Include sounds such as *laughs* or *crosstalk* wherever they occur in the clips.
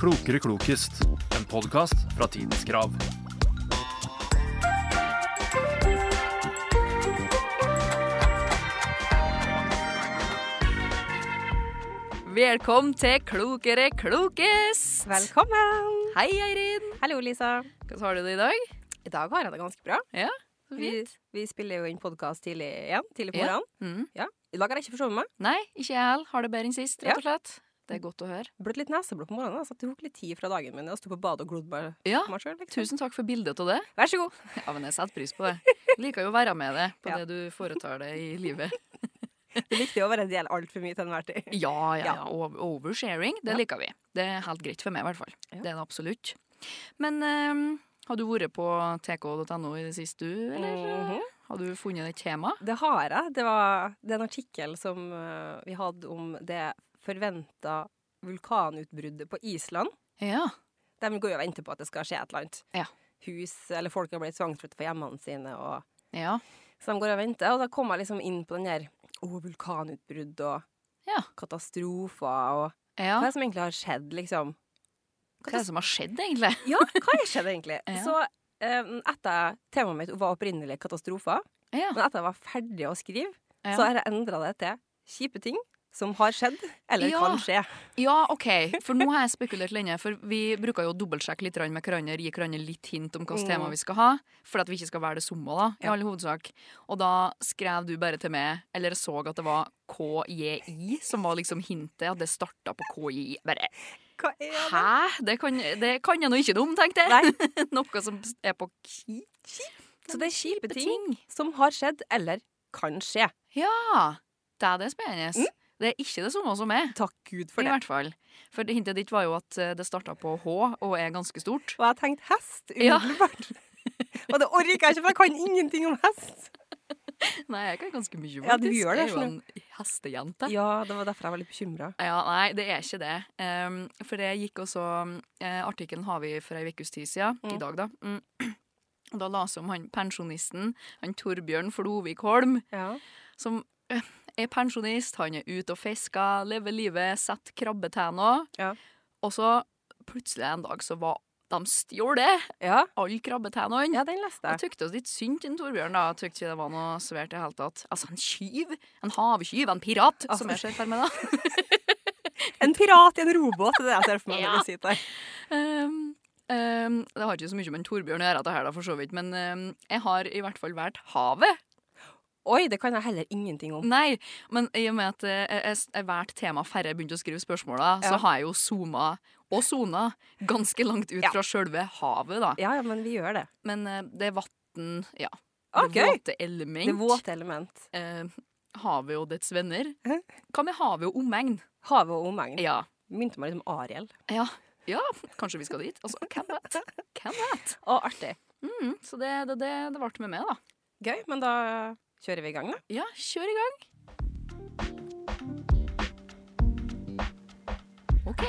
Klokere klokest, en podkast fra Tidens Krav. Velkommen til Klokere klokest! Velkommen! Hei, Eirin! Hallo, Lisa. Hvordan har du det i dag? I dag har jeg det ganske bra. Ja, Vi, vi spiller jo inn podkast tidlig igjen. Tidlig på Ja. morgenen. Mm. I dag har jeg ikke forsovet meg. Nei, ikke jeg heller. Har det bedre enn sist, Ja. rett og slett. Det er godt å høre. Bløtt litt neseblod på morgenen. Så det tok litt tid fra dagen min. Jeg sto på badet og glodd meg Ja, på meg sjøl. Liksom. tusen takk for bildet av det. Vær så god. Ja, men jeg setter pris på det. Jeg liker jo å være med deg på Ja. det du foretar deg i livet. Det er viktig å være en del altfor mye til enhver tid. Ja, ja, Ja. ja. Over- Oversharing, det Ja. liker vi. Det er helt greit for meg, i hvert fall. Ja. Det er det absolutt. Men eh, har du vært på tk.no i det siste, du, eller? Mhm. Har du funnet et tema? Det har jeg. Det var det er en artikkel som eh, vi hadde om det forventa vulkanutbruddet på Island. Ja. De går jo og venter på at det skal skje et eller annet. Ja. Hus, eller folk har blitt tvangsflyttet fra hjemmene sine. og... Ja. Så de går og venter, og da kom jeg liksom inn på den der Å, vulkanutbrudd og Ja. katastrofer og ja. Hva er det som egentlig har skjedd, liksom? Hva er det som har skjedd, egentlig? Ja, *laughs* hva har skjedd, egentlig? *laughs* Ja. Så eh, etter temaet mitt var opprinnelig katastrofer, Ja. men etter jeg var ferdig å skrive, Ja. så har jeg endra det til kjipe ting som har skjedd, eller Ja. kan skje. ja, OK. For nå har jeg spekulert lenge. For vi bruker jo å dobbeltsjekke litt grann med hverandre, gi hverandre litt hint om hvilket Mm. tema vi skal ha. For at vi ikke skal være det samme, da, i Ja. all hovedsak. Og da skrev du bare til meg, eller jeg så at det var KJI som var liksom hintet, at det starta på KJI. Bare Hva er det? hæ? Det kan, det kan jeg nå ikke noe om, tenkte jeg. Nei, *laughs* Noe som er på ki... så det er kjipe ting som har skjedd, eller kan skje. Ja. Det er det spennende. Det er ikke det samme som meg. Takk Gud Mm. for I det. hvert fall. For det hintet ditt var jo at eh, det starta på H og er ganske stort. Og jeg tenkte hest Ja. umiddelbart. *laughs* og det orker jeg ikke, for jeg kan ingenting om hest. Nei, jeg kan ganske mye, faktisk. Ja, du gjør det, Jeg er jo en hestejente. Ja, det var derfor jeg var litt bekymra. Ja, nei, det er ikke det. Um, for det gikk også eh, Artikkelen har vi for ei ukes tid siden. Mm. I dag, da. Mm. Og Da leste jeg om han pensjonisten, han Torbjørn Flovik Holm, Ja. som eh, er pensjonist. Han er ute og fisker, lever livet, setter krabbetenner. Ja. Og så plutselig en dag så var de stjålet, Ja. alle krabbetennene. den leste Jeg tykte oss litt synd til Torbjørn, da. Jeg tykte ikke det var noe svært i det hele tatt. Altså, en tyv? En havkyv? En pirat? som jeg Altså- ser for meg, da. *laughs* En pirat i en robåt, det er det jeg ser for meg. Ja. når du sitter her. Um, um, det har ikke så mye med en Torbjørn å gjøre, dette her, da, for så vidt, men um, jeg har i hvert fall valgt havet. Oi, det kan jeg heller ingenting om. Nei, men i og med at eh, jeg- jeg jeg valgte tema færre begynte å skrive spørsmåla, Ja. så har jeg jo zooma og sona ganske langt ut Ja. fra sjølve havet, da. Ja, ja, men vi gjør det. Men eh, det er vann, ja. Ah, Det gøy. våte element. Det våte element. eh, havet og dets venner. Hæ? Hva med havet og omegn? Havet og omegn. Ja. Minte meg litt om Ariel. Ja. ja, kanskje vi skal dit. Altså, hvem vet? Hvem vet? Å, artig. Mm, så det, det, det, det ble med meg, da. Gøy, men da kjører vi i gang, da. Ja, kjør i gang. OK.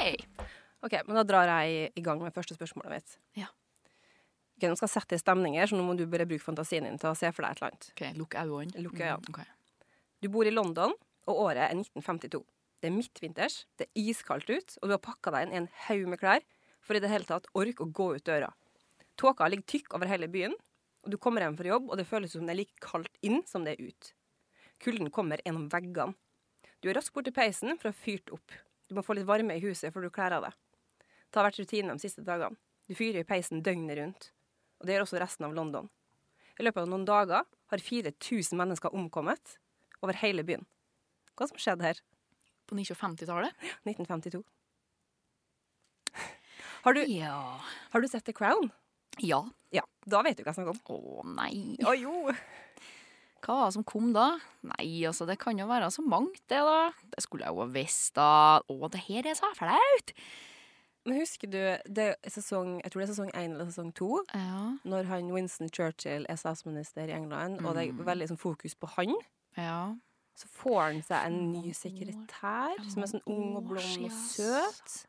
Ok, men Da drar jeg i gang med første spørsmålet mitt. Ja. Ok, Nå skal jeg sette i stemninger, så nå må du bare bruke fantasien din til å se for deg et eller annet. Ok, Lukk øynene. Lukk øynene. Mm, ok. Du bor i London, og året er 1952. Det er midtvinters, det er iskaldt ut, og du har pakka deg inn i en haug med klær for i det hele tatt orke å gå ut døra. Tåka ligger tykk over hele byen, og du kommer hjem fra jobb, og det føles som det er like kaldt inn som det er ut. Kulden kommer gjennom veggene. Du er raskt bort til peisen for å ha fyrt opp. Du må få litt varme i huset før du kler av deg. Det har vært rutinen de siste dagene. Du fyrer i peisen døgnet rundt. Og det gjør også resten av London. I løpet av noen dager har 4000 mennesker omkommet, over hele byen. Hva som skjedde her? På 1950-tallet? 1952. Har du, Ja. har du sett The Crown? ja. Ja, da vet du hva jeg snakker om. Å nei. Å jo! Hva var det som kom da? Nei, altså, det kan jo være så mangt, det, da. Det skulle jeg jo ha visst, da. Å, det her er så flaut. Men husker du, det er sesong, jeg tror det er sesong 1 eller sesong 2, Ja. når han Winston Churchill er statsminister i England, og det er Mm. veldig sånn fokus på han, ja. så får han seg en ny Noen år. sekretær Ja, som er sånn ung og noen år blond og siden, ass. søt.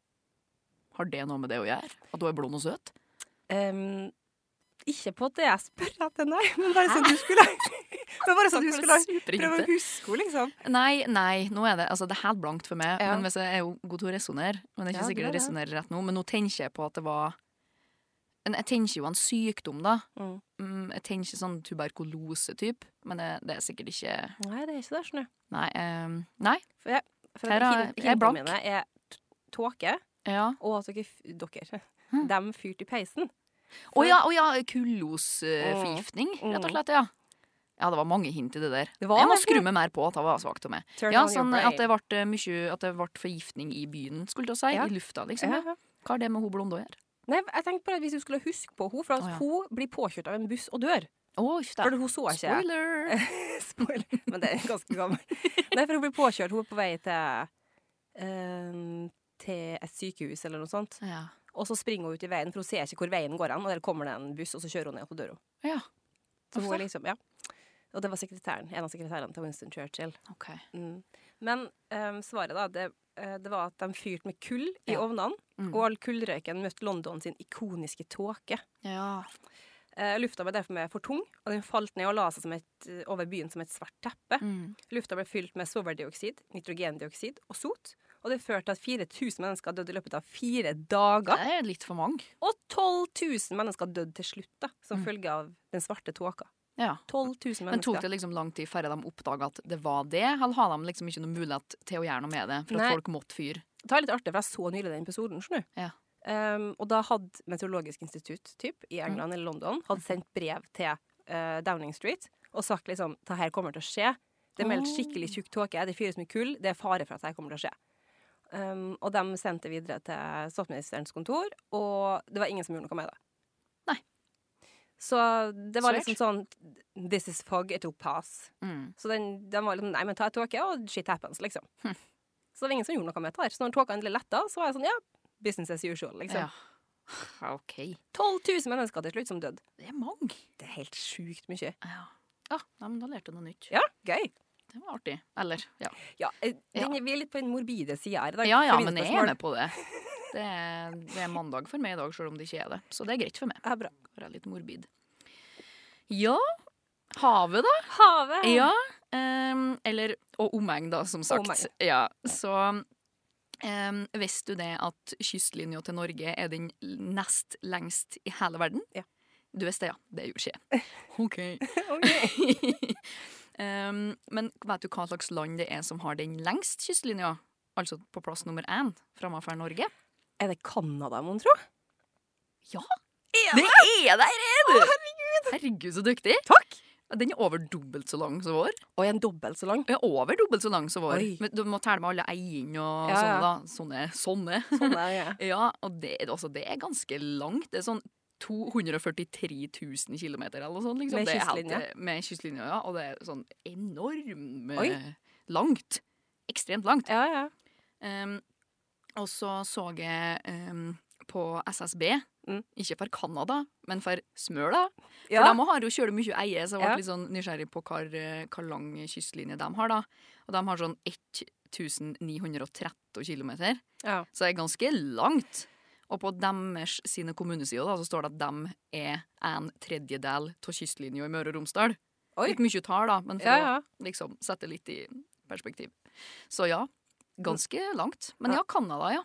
*laughs* Har det noe med det å gjøre? At hun er blond og søt? Ehm, Ikke på at det jeg spør etter, nei, men bare sånn du skulle *laughs* Men bare sånn du Takk for skulle det supre prøve å hintet. huske henne, liksom. Nei, nei, nå er det altså det er helt blankt for meg. Ja. Men hvis jeg er jo god til å resonnere. Men det er ikke Ja, du sikkert jeg er det. resonnerer rett nå. Men nå tenker jeg på at det var Men Jeg tenker jo en sykdom, da. Mm. Mm, Jeg tenker sånn tuberkulose-type. Men det, det er sikkert ikke Nei, det er ikke det, skjønner du. Nei. Eh, nei. For jeg, for Her er- jeg, hin- jeg er hintene blank. mine er t- tåke, Ja. og at dere, f- dere *laughs* Hm. dem fyrte i peisen. Å ja, å ja, kullosforgiftning, Mm. rett og slett. Ja. Ja, det var mange hint i det der. Det var jeg må det. skru meg mer på at det var svakt av meg. Turn Ja, on your sånn brain. at det ble mye At det ble forgiftning i byen, skulle jeg til å si. Ja. I lufta, liksom. Ja, Ja. ja. Hva har det med hun blonde å gjøre? Nei, jeg tenkte bare at Hvis du skulle huske på henne For at Å, ja. hun blir påkjørt av en buss og dør. Å, uff da. For hun så ikke Spoiler! *laughs* Spoiler. Men det er ganske gammel. Nei, for hun blir påkjørt. Hun er på vei til eh, til et sykehus eller noe sånt. Ja. Og så springer hun ut i veien, for hun ser ikke hvor veien går an. Og der kommer det en buss, og så kjører hun ned, og så dør hun. ja. Så hun Uff da. er liksom, ja. Og det var sekretæren, en av sekretærene til Winston Churchill. Ok. Mm. Men eh, svaret, da, det, eh, det var at de fyrte med kull i Ja. ovnene. Mm. Og all kullrøyken møtte London sin ikoniske tåke. Ja. Eh, lufta ble derfor med for tung, og den falt ned og la seg som et, eh, over byen som et svart teppe. Mm. Lufta ble fylt med svoveldioksid, nitrogendioksid og sot. Og det førte til at 4000 mennesker døde i løpet av fire Det dager. er litt for mange. Og 12 000 mennesker døde til slutt, da, som Mm. følge av den svarte tåka. Ja. 12 000 Men tok mennesker. det liksom lang tid før de oppdaga at det var det? Eller har de liksom ikke noen mulighet til å gjøre noe med det? For Nei. at folk måtte fyre? Det er litt artig, for jeg så nylig den episoden. skjønner du? Ja. Ehm, og da hadde Meteorologisk institutt typ, Mm. i England eller London hadde sendt brev til eh, Downing Street og sagt liksom det her kommer til å skje. Det er meldt Oh. skikkelig tjukk tåke, det fyres mye kull, det er fare for at det her kommer til å skje. Ehm, og de sendte det videre til statsministerens kontor, og det var ingen som gjorde noe med det. Nei. Så det var Svært. liksom sånn This is fog, it will pass. Mm. Så den, den var liksom Nei, men ta en tåke, og shit happens, liksom. Hm. Så det var ingen som gjorde noe med det der. Så når tåka endelig letta, så var jeg sånn Ja, business as usual, liksom. Ja. *laughs* OK. 12 000 mennesker til slutt som døde. Det er mange. Det er helt sjukt mye. Ja. ja. Nei, men da lærte jeg noe nytt. Ja, gøy. Det var artig. Eller, ja. Ja, eh, den, Vi er litt på den morbide sida her i dag. Ja ja, for mine men jeg spørsmål. er med på det. Det er, det er mandag for meg i dag, sjøl om det ikke er det. Så det er greit for meg. Ja, bra. Være litt morbid. Ja. Havet, da? Havet! *laughs* Ja. ehm, eller og omegn, da, som sagt. Omegn. Ja, så ehm, Visste du det at kystlinja til Norge er den nest lengst i hele verden? Ja. Du visste det, ja? Det gjorde ikke *laughs* jeg. OK. Ok. *laughs* Ehm, men vet du hva slags land det er som har den lengst kystlinja? Altså på plass nummer én framfor Norge? Er det Canada, mon tro? Ja! Er Det er der, er du! Herregud. så dyktig. Takk! Den er over dobbelt så lang som vår. Og er den dobbelt så lang? Ja, over dobbelt så lang som vår. Oi. Men du må telle med alle eiene og Ja, ja. sånne, da. Sånne. sånne. *laughs* Sånn er jeg. Ja, og det, altså, det er ganske langt. Det er sånn 243 000 km eller noe sånt. Liksom. Med Det er helt- kystlinje? Med kystlinja, ja. Og det er sånn enorm Oi. Langt. Ekstremt langt. Ja, ja. Um, og så så jeg um, på SSB, Mm. ikke for Canada, men for Smøla. For Ja. de har jo kjørt mye eie, så jeg ble Ja. litt sånn nysgjerrig på hvor, eh, hvor lang kystlinje de har. da. Og de har sånn 1913 kilometer, ja. så det er ganske langt. Og på deres sine kommunesider da, så står det at de er en tredjedel av kystlinja i Møre og Romsdal. Oi. Litt mye tall, da, men for ja, å ja. liksom sette litt i perspektiv. Så ja, ganske langt. Men ja, Canada, ja.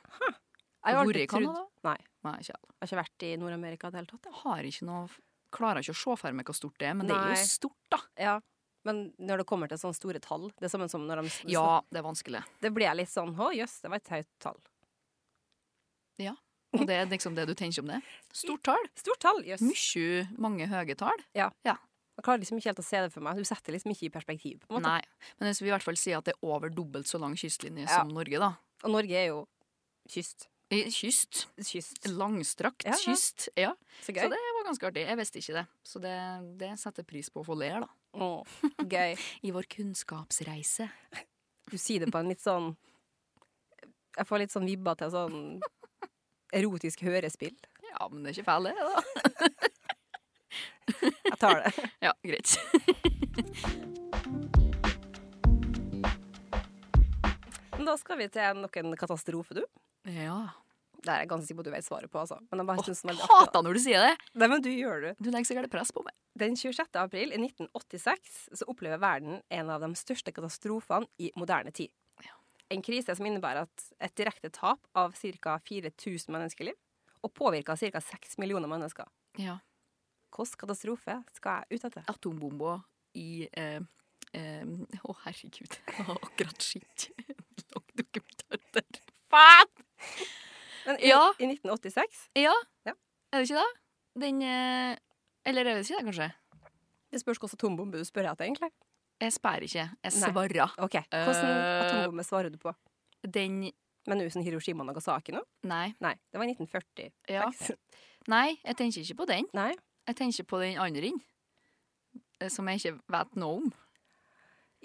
Jeg har Hvor alltid i Canada? trodd- Nei. Nei, ikke alle. Jeg har ikke vært i Nord-Amerika i det hele tatt. jeg. Har ikke noe Klarer ikke å se for meg hvor stort det er, men det er Nei. jo stort, da. Ja. Men når det kommer til sånne store tall Det er samme som når de s- Ja, det er vanskelig. Det ble jeg litt sånn Å, jøss, det var et høyt tall. Og det er liksom det du tenker om det. Stort tall. Stort tall, jøss. Mye, mange høye tall. Jeg klarer liksom ikke helt å se det for meg. Du setter liksom ikke i perspektiv. på en måte. Nei. Men hvis vi i hvert fall sier at det er over dobbelt så lang kystlinje Ja. som Norge, da. Og Norge er jo kyst. I Kyst. Kyst. Langstrakt Ja, ja. kyst. Ja. Så gøy. Så det var ganske artig. Jeg visste ikke det. Så det, det setter pris på å få ler, da. Åh, gøy. I vår kunnskapsreise. Du sier det på en litt sånn Jeg får litt sånn vibber til sånn erotisk hørespill. Ja, men det er ikke feil, det, da. Jeg tar det. Ja, greit. Men da skal vi til noen katastrofe, du. Ja. Det er jeg ganske sikker på at du vet svaret på, altså. Men jeg bare synes den er veldig artig. Hater når du sier det! da. Nei, men du gjør det. Du legger sikkert press på meg. Den 26. april i 1986 så opplever verden en av de største katastrofene i moderne tid. En krise som innebærer at et direkte tap av ca. 4000 menneskeliv og påvirker ca. 6 millioner mennesker. Ja. Hvilken katastrofe skal jeg ut etter? Atombomber i eh, eh, Å, herregud. *laughs* Jeg har akkurat skitt lang dokumentar der. Faen! Men i, Ja. i 1986 Ja. Ja. Er det ikke det? Den eh, Eller er det ikke det, kanskje? Det spørs hvilken atombombe du spør etter, egentlig. Jeg spærer ikke. Jeg Nei. svarer. Ok, Hvilken Eh. atombombe svarer du på? Den Men nå som Hiroshima og Nagasaki nå? Nei. Nei, det var i 1946. Ja. Nei, jeg tenker ikke på den. *laughs* Nei. Jeg tenker på den andre inn. eh, Som jeg ikke vet noe om.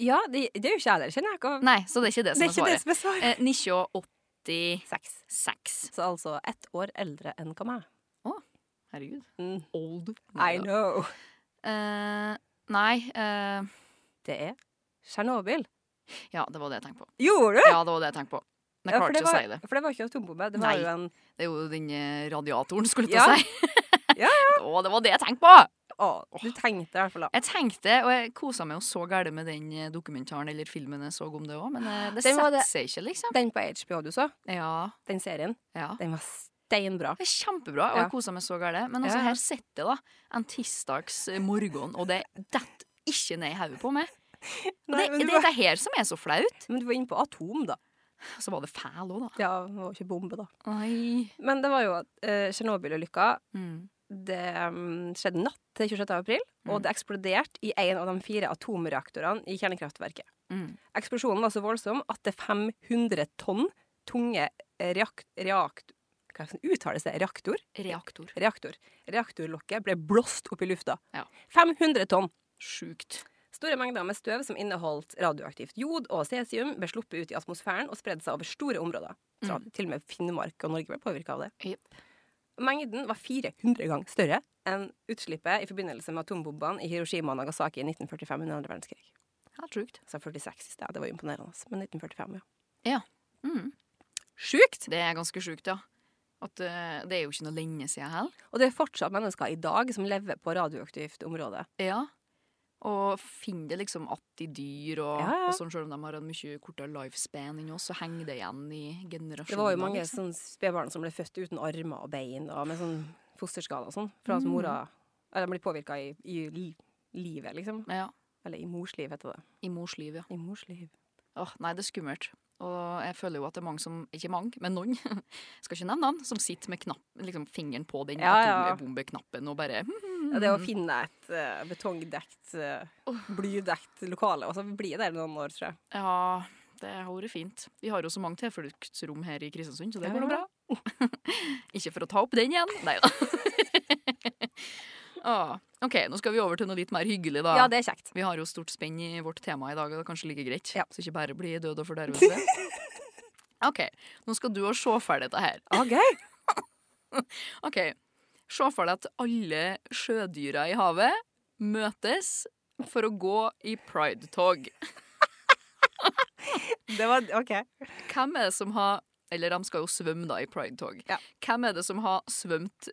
Ja, det, det er jo ikke jeg heller, kjenner jeg. Hva- Nei, så det er ikke det Det som er er ikke det svaret. som er svaret. Eh, 1986. Seks. Så altså ett år eldre enn hva meg. Herregud. Mm. Old. I know. Eh, nei eh, Det er Tsjernobyl. Ja, det var det jeg tenkte på. Gjorde du? Ja, det var det jeg tenkte på. Men jeg for, klarte det ikke å var, si det. for det var ikke atombombe. Det Nei. var jo en Det er jo den eh, radiatoren, skulle jeg Ja. til å si. *laughs* Ja, *laughs* Å, det var det jeg tenkte på! Å, du tenkte i hvert fall da. Jeg tenkte, og jeg kosa meg jo så gære med den eh, dokumentaren eller filmen jeg så om det òg, men eh, det Den var setter det- seg ikke, liksom. Den på HBO du så, Ja, den serien, ja. den var steinbra. Det er kjempebra, og Ja. jeg kosa meg så gære. Men altså, Ja, ja. her sitter jeg, da, en tirsdags eh, morgen, og det detter ikke ned i hodet på meg. Og det, Nei, men, det du er var, dette her som er så flaut. men du var inne på atom, da. Så var det fæl òg, da. Ja, det var jo ikke bombe, da. Nei. Men det var jo at eh, Tsjernobyl-ulykka Mm. Det mm, skjedde natt til 26. april, Mm. og det eksploderte i en av de fire atomreaktorene i kjernekraftverket. Mm. Eksplosjonen var så voldsom at det 500 tonn tunge reakt, reakt, hva er det som uttales det? Reaktor? Reaktor. Reaktor. Reaktorlokket ble blåst opp i lufta. Ja. 500 tonn! Sjukt. Store mengder med støv som inneholdt radioaktivt jod og cesium, ble sluppet ut i atmosfæren og spredde seg over store områder. Så Til og med Finnmark og Norge ble påvirka av det. Jepp. Mengden var 400 ganger større enn utslippet i forbindelse med atombombene i Hiroshima og Nagasaki i 1945 under andre verdenskrig. Ja, sjukt. Så 46 i sted, det var imponerende. altså. Men 1945, ja. Mm. Sjukt! Det er ganske sjukt, ja. At eh, det er jo ikke noe lenge siden heller. Og det er fortsatt mennesker i dag som lever på radioaktivt område. Ja. Og finner det liksom att i dyr, og, Ja, ja. og sånn, selv om de har hatt mye kortere lifespan enn oss, så henger det igjen i generasjoner. Det var jo mange liksom. sånn spedbarn som ble født uten armer og bein og med sånn fosterskader og sånn, fra at Mm. mora eller de ble påvirka i, i li, livet, liksom. Ja. Eller i mors liv, heter det. I mors liv, ja. I mors liv. Åh, nei, det er skummelt. Og jeg føler jo at det er mange som Ikke mange, men noen. *laughs* Skal ikke nevne navn. Som sitter med knapp, liksom fingeren på den Ja, ja. atombombeknappen og bare Ja, det å finne et eh, betongdekt, eh, blydekt lokale. Og så blir det der noen år, tror jeg. Ja, det har vært fint. Vi har jo så mange tilfluktsrom her i Kristiansund, så det går nå bra. *laughs* Ikke for å ta opp den igjen. Nei da. *laughs* ah, OK, nå skal vi over til noe litt mer hyggelig, da. Ja, det er kjekt. Vi har jo stort spenn i vårt tema i dag, og det er kanskje like greit. Ja. Så ikke bare bli død og *laughs* fordervelse. OK, nå skal du og se ferdig dette her. Ah, gøy! OK. Se for deg at alle sjødyra i havet møtes for å gå i pridetog. Det var OK. Hvem er det som har Eller de skal jo svømme da i pridetog. Ja. Hvem er det som har svømt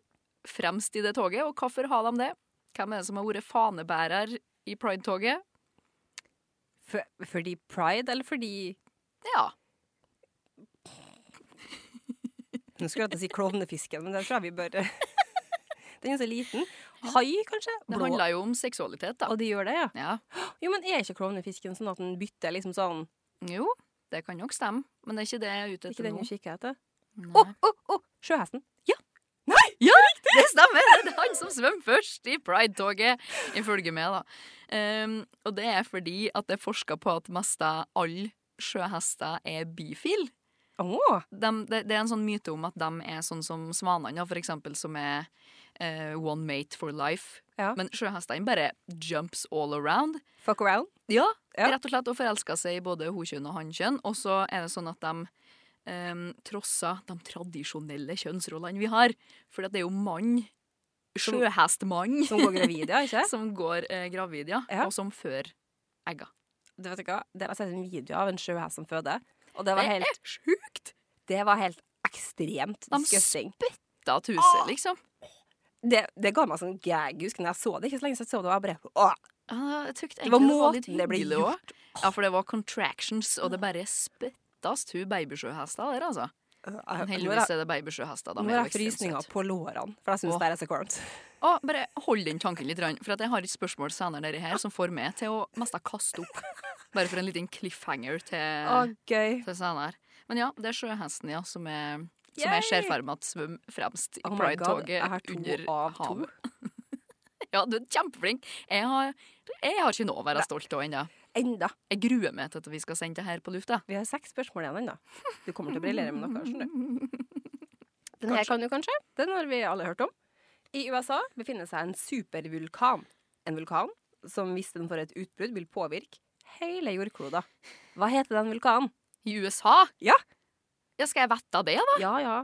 fremst i det toget, og hvorfor har de det? Hvem er det som har vært fanebærer i pridetoget? For, fordi pride, eller fordi Ja. Nå skulle jeg til å si klovnefisken, men det tror jeg vi bør *laughs* Den er så liten. Hai, kanskje? Det Blå. handler jo om seksualitet, da. Og de gjør det, ja. Ja. Jo, men er ikke klovnefisken sånn at den bytter liksom sånn Jo, det kan nok stemme, men det er ikke det jeg er ute Er etter ikke den nå. du kikker etter? Nei. *laughs* Å, å, å! Sjøhesten. Det stemmer! Det er han som svømmer først i Pride-toget, ifølge meg, da. Ehm, og det er fordi at det er forska på at mesta alle sjøhester er bifil. Å! Dem- det, det er en sånn myte om at de er sånn som svanene, ja, for eksempel, som er eh, one mate for life. Ja. Men sjøhestene bare jumps all around. Fuck around. Ja, Ja. rett og slett, og forelska seg i både hun-kjønn og han-kjønn. Og så er det sånn at de um, trosser de tradisjonelle kjønnsrollene vi har. For det er jo mann, Som- sjøhestmann, Som går gravid, ja, *laughs* ikke? som går eh, gravid, ja. Ja. Og som før egga. Du vet ikke hva? Der har jeg sett en video av en sjøhest som føder, og det var helt er sjukt! Det var helt ekstremt De disgusting. Da tuser, liksom. Det, det ga meg sånn gag, jeg husker når jeg så det. Ikke så lenge siden jeg så det, og jeg bare Åh! Ja, Jeg tykte Det var egentlig det var litt måten det ble hyggelig også. Ja, for det var contractions, og det bare spyttas to babysjøhester der, altså. Jeg- øh, Nå er Heldigvis jeg- er det babysjøhester. nå har jeg frysninger på lårene, for jeg syns Åh. det her er så kvalmt. Å, bare hold den tanken litt, rann, for at jeg har et spørsmål senere nedi her som får meg til å mest av kaste opp. Bare for en liten cliffhanger Å, til, gøy. til senere. Men ja, det er sjøhesten, ja, som er som Yay! jeg ser for meg at svømmer fremst i Oh my god, jeg har Pride-toget under to av to. havet. *laughs* Ja, du er kjempeflink. Jeg har, jeg har ikke noe å være stolt av ennå. Enda. Jeg gruer meg til at vi skal sende det her på lufta. Vi har seks spørsmål igjen ennå. Du kommer til å briljere med noe. skjønner du. Den her kan du kanskje. Den har vi alle hørt om. I USA befinner seg en supervulkan. En vulkan som hvis den får et utbrudd, vil påvirke hele jordkloda. Hva heter den vulkanen? I USA? Ja. Ja, skal jeg vette det, da? Ja, ja.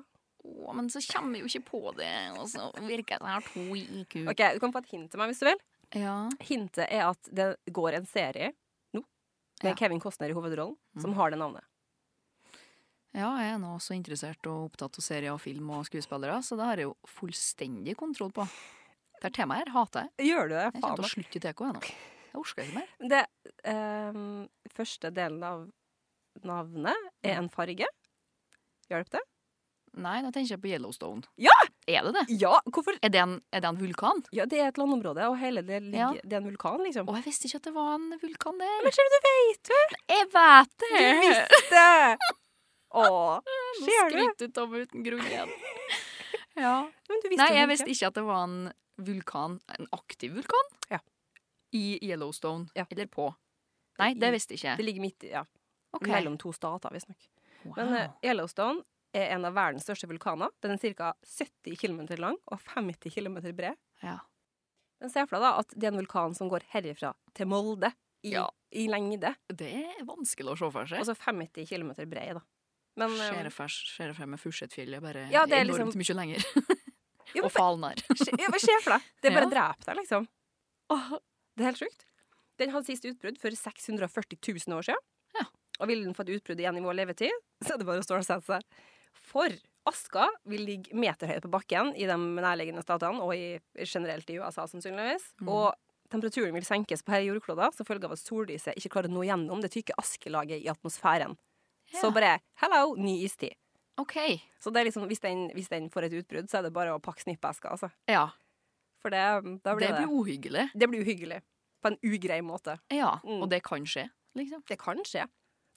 Å, men så kommer jeg jo ikke på det, og så virker det som jeg har to i IQ. Ok, Du kan få et hint til meg hvis du vil. Ja. Hintet er at det går en serie nå med Ja. Kevin Costner i hovedrollen, som har det navnet. Ja, jeg er nå også interessert og opptatt av serier og film og skuespillere, så det har jeg jo fullstendig kontroll på. Det her temaet her hater jeg. Gjør du det? Jeg kommer Faen. til å slutte i TK jeg nå. Jeg orker ikke mer. Det ehm, første delen av navnet er en farge. Hjalp det? Nei, nå tenker jeg på Yellowstone. Ja! Er det det? Ja, hvorfor? Er det en, er det en vulkan? Ja, det er et landområde, og hele det, Ja. ligger, det er en vulkan, liksom. Å, jeg visste ikke at det var en vulkan der. Men ser du, du vet jo Jeg vet det! det! Å, Nå ser du? skryter du av meg uten grunn *laughs* igjen. ja. Men du visste Nei, jo jeg ikke. visste ikke at det var en vulkan, en aktiv vulkan, Ja. i Yellowstone. Ja. Eller på. Nei, det visste ikke Det jeg. ligger midt i, ja, Ok. mellom to stater, visstnok. Wow. Men eh, Yellowstone er en av verdens største vulkaner. Den er ca. 70 km lang og 50 km bred. Ja. Den ser for deg da at det er en vulkan som går herifra til Molde i, Ja. i lengde. Det er vanskelig å se for seg. Altså 50 km bred, da. Men eh, Ser jeg for- ser jeg for meg Fursetfjellet bare Ja, det er enormt liksom- mye lenger. Ja, men og Falnar. se- *laughs* ja, men se for deg! Det er Ja. bare å drepe deg, liksom. Det er helt sjukt. Den hadde sist utbrudd for 640 000 år siden. Ja. Og ville den fått utbrudd igjen i vår levetid, så er det bare å stå og sette seg. For aska vil ligge meterhøyt på bakken i de nærliggende statene, og i, generelt i USA sannsynligvis. Mm. Og temperaturen vil senkes på hele jordkloda som følge av at sollyset ikke klarer å nå gjennom det tykke askelaget i atmosfæren. *laughs* Så Ja. bare hello, ny istid. OK. Så det er liksom, hvis den, hvis den får et utbrudd, så er det bare å pakke snippeska, altså. Ja. For det, da Det blir det, blir uhyggelig. det blir uhyggelig. På en ugrei måte. Ja. Mm. Og det kan skje, liksom. Det kan skje.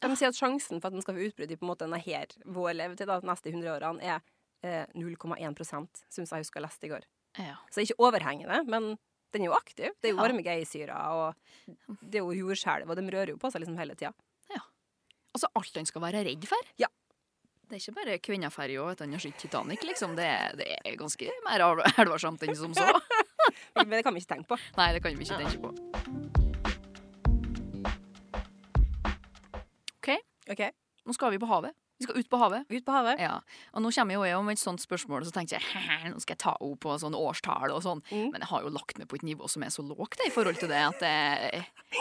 De sier at sjansen for at den skal få utbrudd i på en måte denne her vår levetid, da, de neste 100 årene, er eh, 0,1 syns jeg husker jeg leste i går. Ja. Så ikke overhengende, men den er jo aktiv. Det er jo Ja. varmegeisyrer, og det er jo jordskjelv, og de rører jo på seg liksom hele tida. Altså alt en skal være redd for. Ja. Det er ikke bare kvinneferja og at han har sett Titanic, liksom. Det, er- det er ganske mer *laughs* al- alvorsomt enn som så. Men det kan vi ikke tenke på. Nei, det kan vi ikke tenke på. OK, *laughs* OK, nå skal vi på havet. Vi skal ut på havet. ut på havet. *laughs* Ja, og nå kommer jo jeg om et sånt spørsmål, så tenkte jeg «Hæ, nå skal jeg ta henne på sånn årstall og sånn. Mm. Men jeg har jo lagt meg på et nivå som er så lågt jeg, i forhold til det at jeg eh,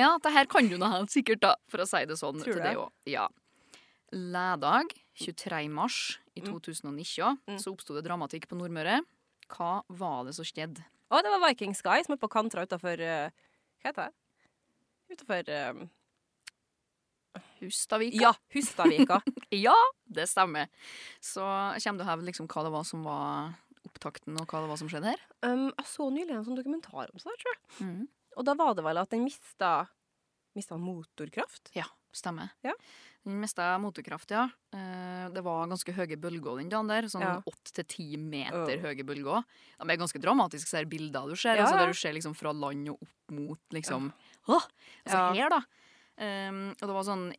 Ja, det her kan jo noe helt sikkert, da, for å si det sånn. Tror til du det det? også. Ja. Lærdag 23. mars i Mm. 2019 Mm. så oppsto det dramatikk på Nordmøre. Hva var det som skjedde? Å, det var Viking Sky som er på kantra utafor Hva heter det? Utafor Hustadvika? Ja, Hustadvika. ja, det stemmer. Så kommer du her liksom hva det var som var opptakten, og hva det var som skjedde her? *laughs* um, jeg så nylig en sånn dokumentar om sånn, tror jeg. Mm. Og da var det vel at den mista Mista motorkraft? Ja, stemmer. Ja. Den mista motorkraft, ja. Eh, Det var ganske høye bølger den dagen der. Sånn Ja. åtte til ti meter Åh. høye bølger. De er ganske dramatiske, så her bilder du ser. Ja, Altså, ja. der du ser liksom fra land og opp mot liksom Åh! Altså Ja. her, da. Ehm, og det var sånn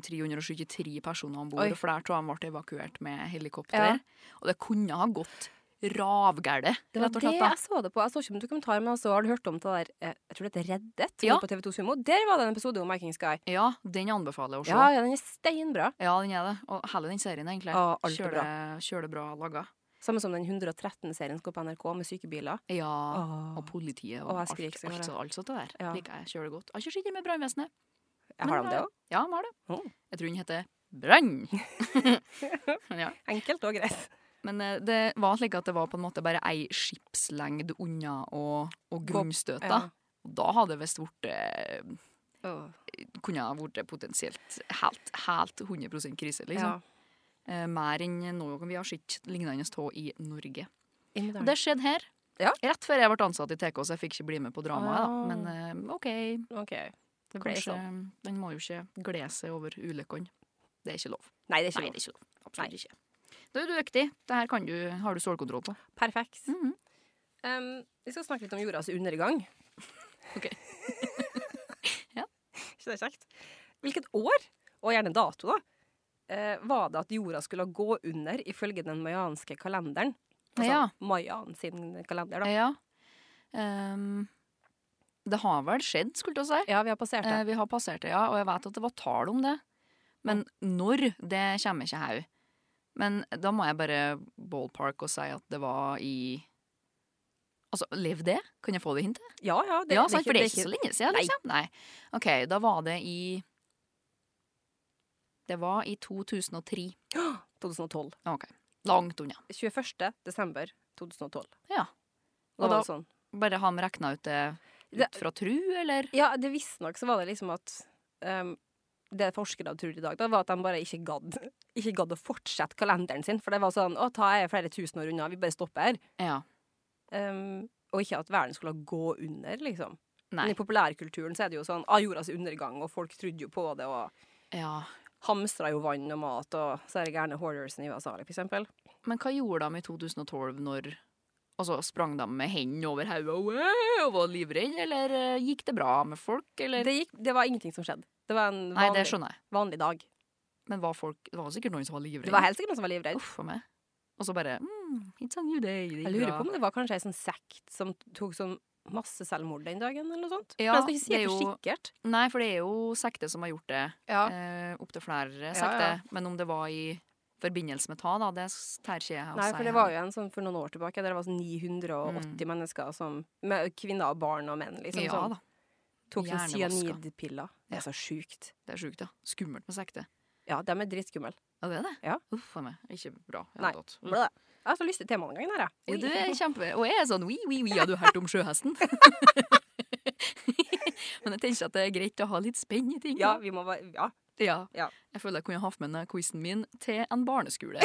1373 personer om bord, Oi. og flere av dem ble evakuert med helikopter. Ja. Og det kunne ha gått ravgæle, Det var rett og det slett. da. jeg så det på. Jeg så ikke på dokumentar, men altså, har du hørt om det der eh, Jeg tror det heter Reddet, som Ja. går på TV2 Sumo. Der var det en episode om Viking Sky. Ja, den anbefaler jeg å se. Ja, ja, den er steinbra. Ja, den er det. Og hele den serien, egentlig. Ja, alt er Kjøle- bra. Kjølebra laga. Samme som den 113-serien som går på NRK med sykebiler. Ja. Åh. Og politiet og Å, alt, jeg skriker alt, så godt, alt, jeg. sånt der. Ja. Liker jeg kjølig godt. Jeg har ikke sittet med brannvesenet. Jeg har Men, dem det eh, òg. Ja, de har det. Å. Jeg tror den heter *laughs* brann. Men ja. Enkelt og greit. Men eh, det var slik at det var på en måte bare ei skipslengd unna å, å grunnstøte. Ja. Og da hadde det visst vært eh, Kunne ha vært potensielt helt, helt 100 krise, liksom. Ja. Eh, mer enn noe vi har sett lignende av i Norge. Inn med Og døren. det skjedde her. Ja. Rett før jeg ble ansatt i TK, så jeg fikk ikke bli med på dramaet. da. Ah. Men eh, OK, OK. Det ble kanskje sånn. Den må jo ikke glede seg over ulykkene. Det er ikke lov. Nei, det er Nei, det er ikke noe. ikke lov. Absolutt ikke. Da er du dyktig. Det her kan du, har du stålkontroll på. Perfekt. Mhm. Um, vi skal snakke litt om jordas undergang. *laughs* Ok. Ja. Ikke det kjekt? Hvilket år, og gjerne dato, da, eh, var det at jorda skulle gå under ifølge den mayanske kalenderen? Altså Ja. Eh, mayaen sin kalender, da. Ja. Ehm, det har vel skjedd, skulle jeg til å si. Ja, vi har passert det. Eh, vi har passert det, ja, og jeg vet at det var tall om det. Men når, det kommer ikke her. Men da må jeg bare ballpark og si at det var i Altså, lev det? Kan jeg få det hintet? ja, ja, det, ja, det, sant, for det er ikke så ikke- lenge siden, Nei. liksom. Nei. OK, da var det i Det var i 2003. 2012. OK. Langt unna. 21. desember 2012. Ja. Da Og var da- det sånn. Bare har de regna ut det Det- ut fra tru, eller? Ja, det visstnok så var det liksom at ehm, Det forskere tror i dag, da, var at de bare ikke gadd *laughs* Ikke gadd å fortsette kalenderen sin. For det var sånn Å, ta jeg flere tusen år unna, vi bare stopper her. Ja. Ehm, og ikke at verden skulle gå under, liksom. Men Nei. i populærkulturen så er det jo sånn ah, jordas undergang, og folk trodde jo på det, og Ja. hamstra jo vann og mat, og så er det gærne hoardersen i USA, for eksempel. Men hva gjorde de i 2012 når Altså, sprang de med hendene over hodet og «Wow!» og var livredde, eller eh, gikk det bra med folk, eller Det, gikk, det var ingenting som skjedde. Det var en Nei, det vanlig, skjønner jeg. vanlig dag. Men var folk Det var sikkert noen som var livredde. Det var helt sikkert noen som var livredd. Uff a meg. Og så bare mm, It's a new day. Det gikk Jeg lurer bra. på om det var kanskje ei sånn sekt som tok sånn masse selvmord den dagen, eller noe sånt. Ja, Men jeg det skal ikke si er det for jo- sikkert. Nei, for det er jo sekter som har gjort det. Ja. Eh, Opptil flere Ja, sekter. ja. Men om det var i forbindelse med ta, da, det tær ikke jeg å Nei, si for det her. var jo en sånn for noen år tilbake der det var sånn 980 mennesker som med Kvinner og barn og menn, liksom. Mm. Ja som da. tok sånn Hjernevaska. cyanidpiller. Det Ja. er så sjukt. Det er sjukt, ja. Skummelt med sekter. Ja, de er dritskumle. Ja, det er det. Ja. Uff a meg. Ikke bra. i det Nei. hele tatt. Blæ. Jeg har så lyst til temaet en gang, her, Mm. Ja, jeg. du er kjempe... Og jeg er sånn oui, oui, oui, har du hørt om sjøhesten? *laughs* Men jeg tenker at det er greit å ha litt spenn i ting. Ja, da. vi må bare Ja. Ja. Ja. Jeg føler jeg kunne hatt med denne quizen min til en *laughs* barneskole.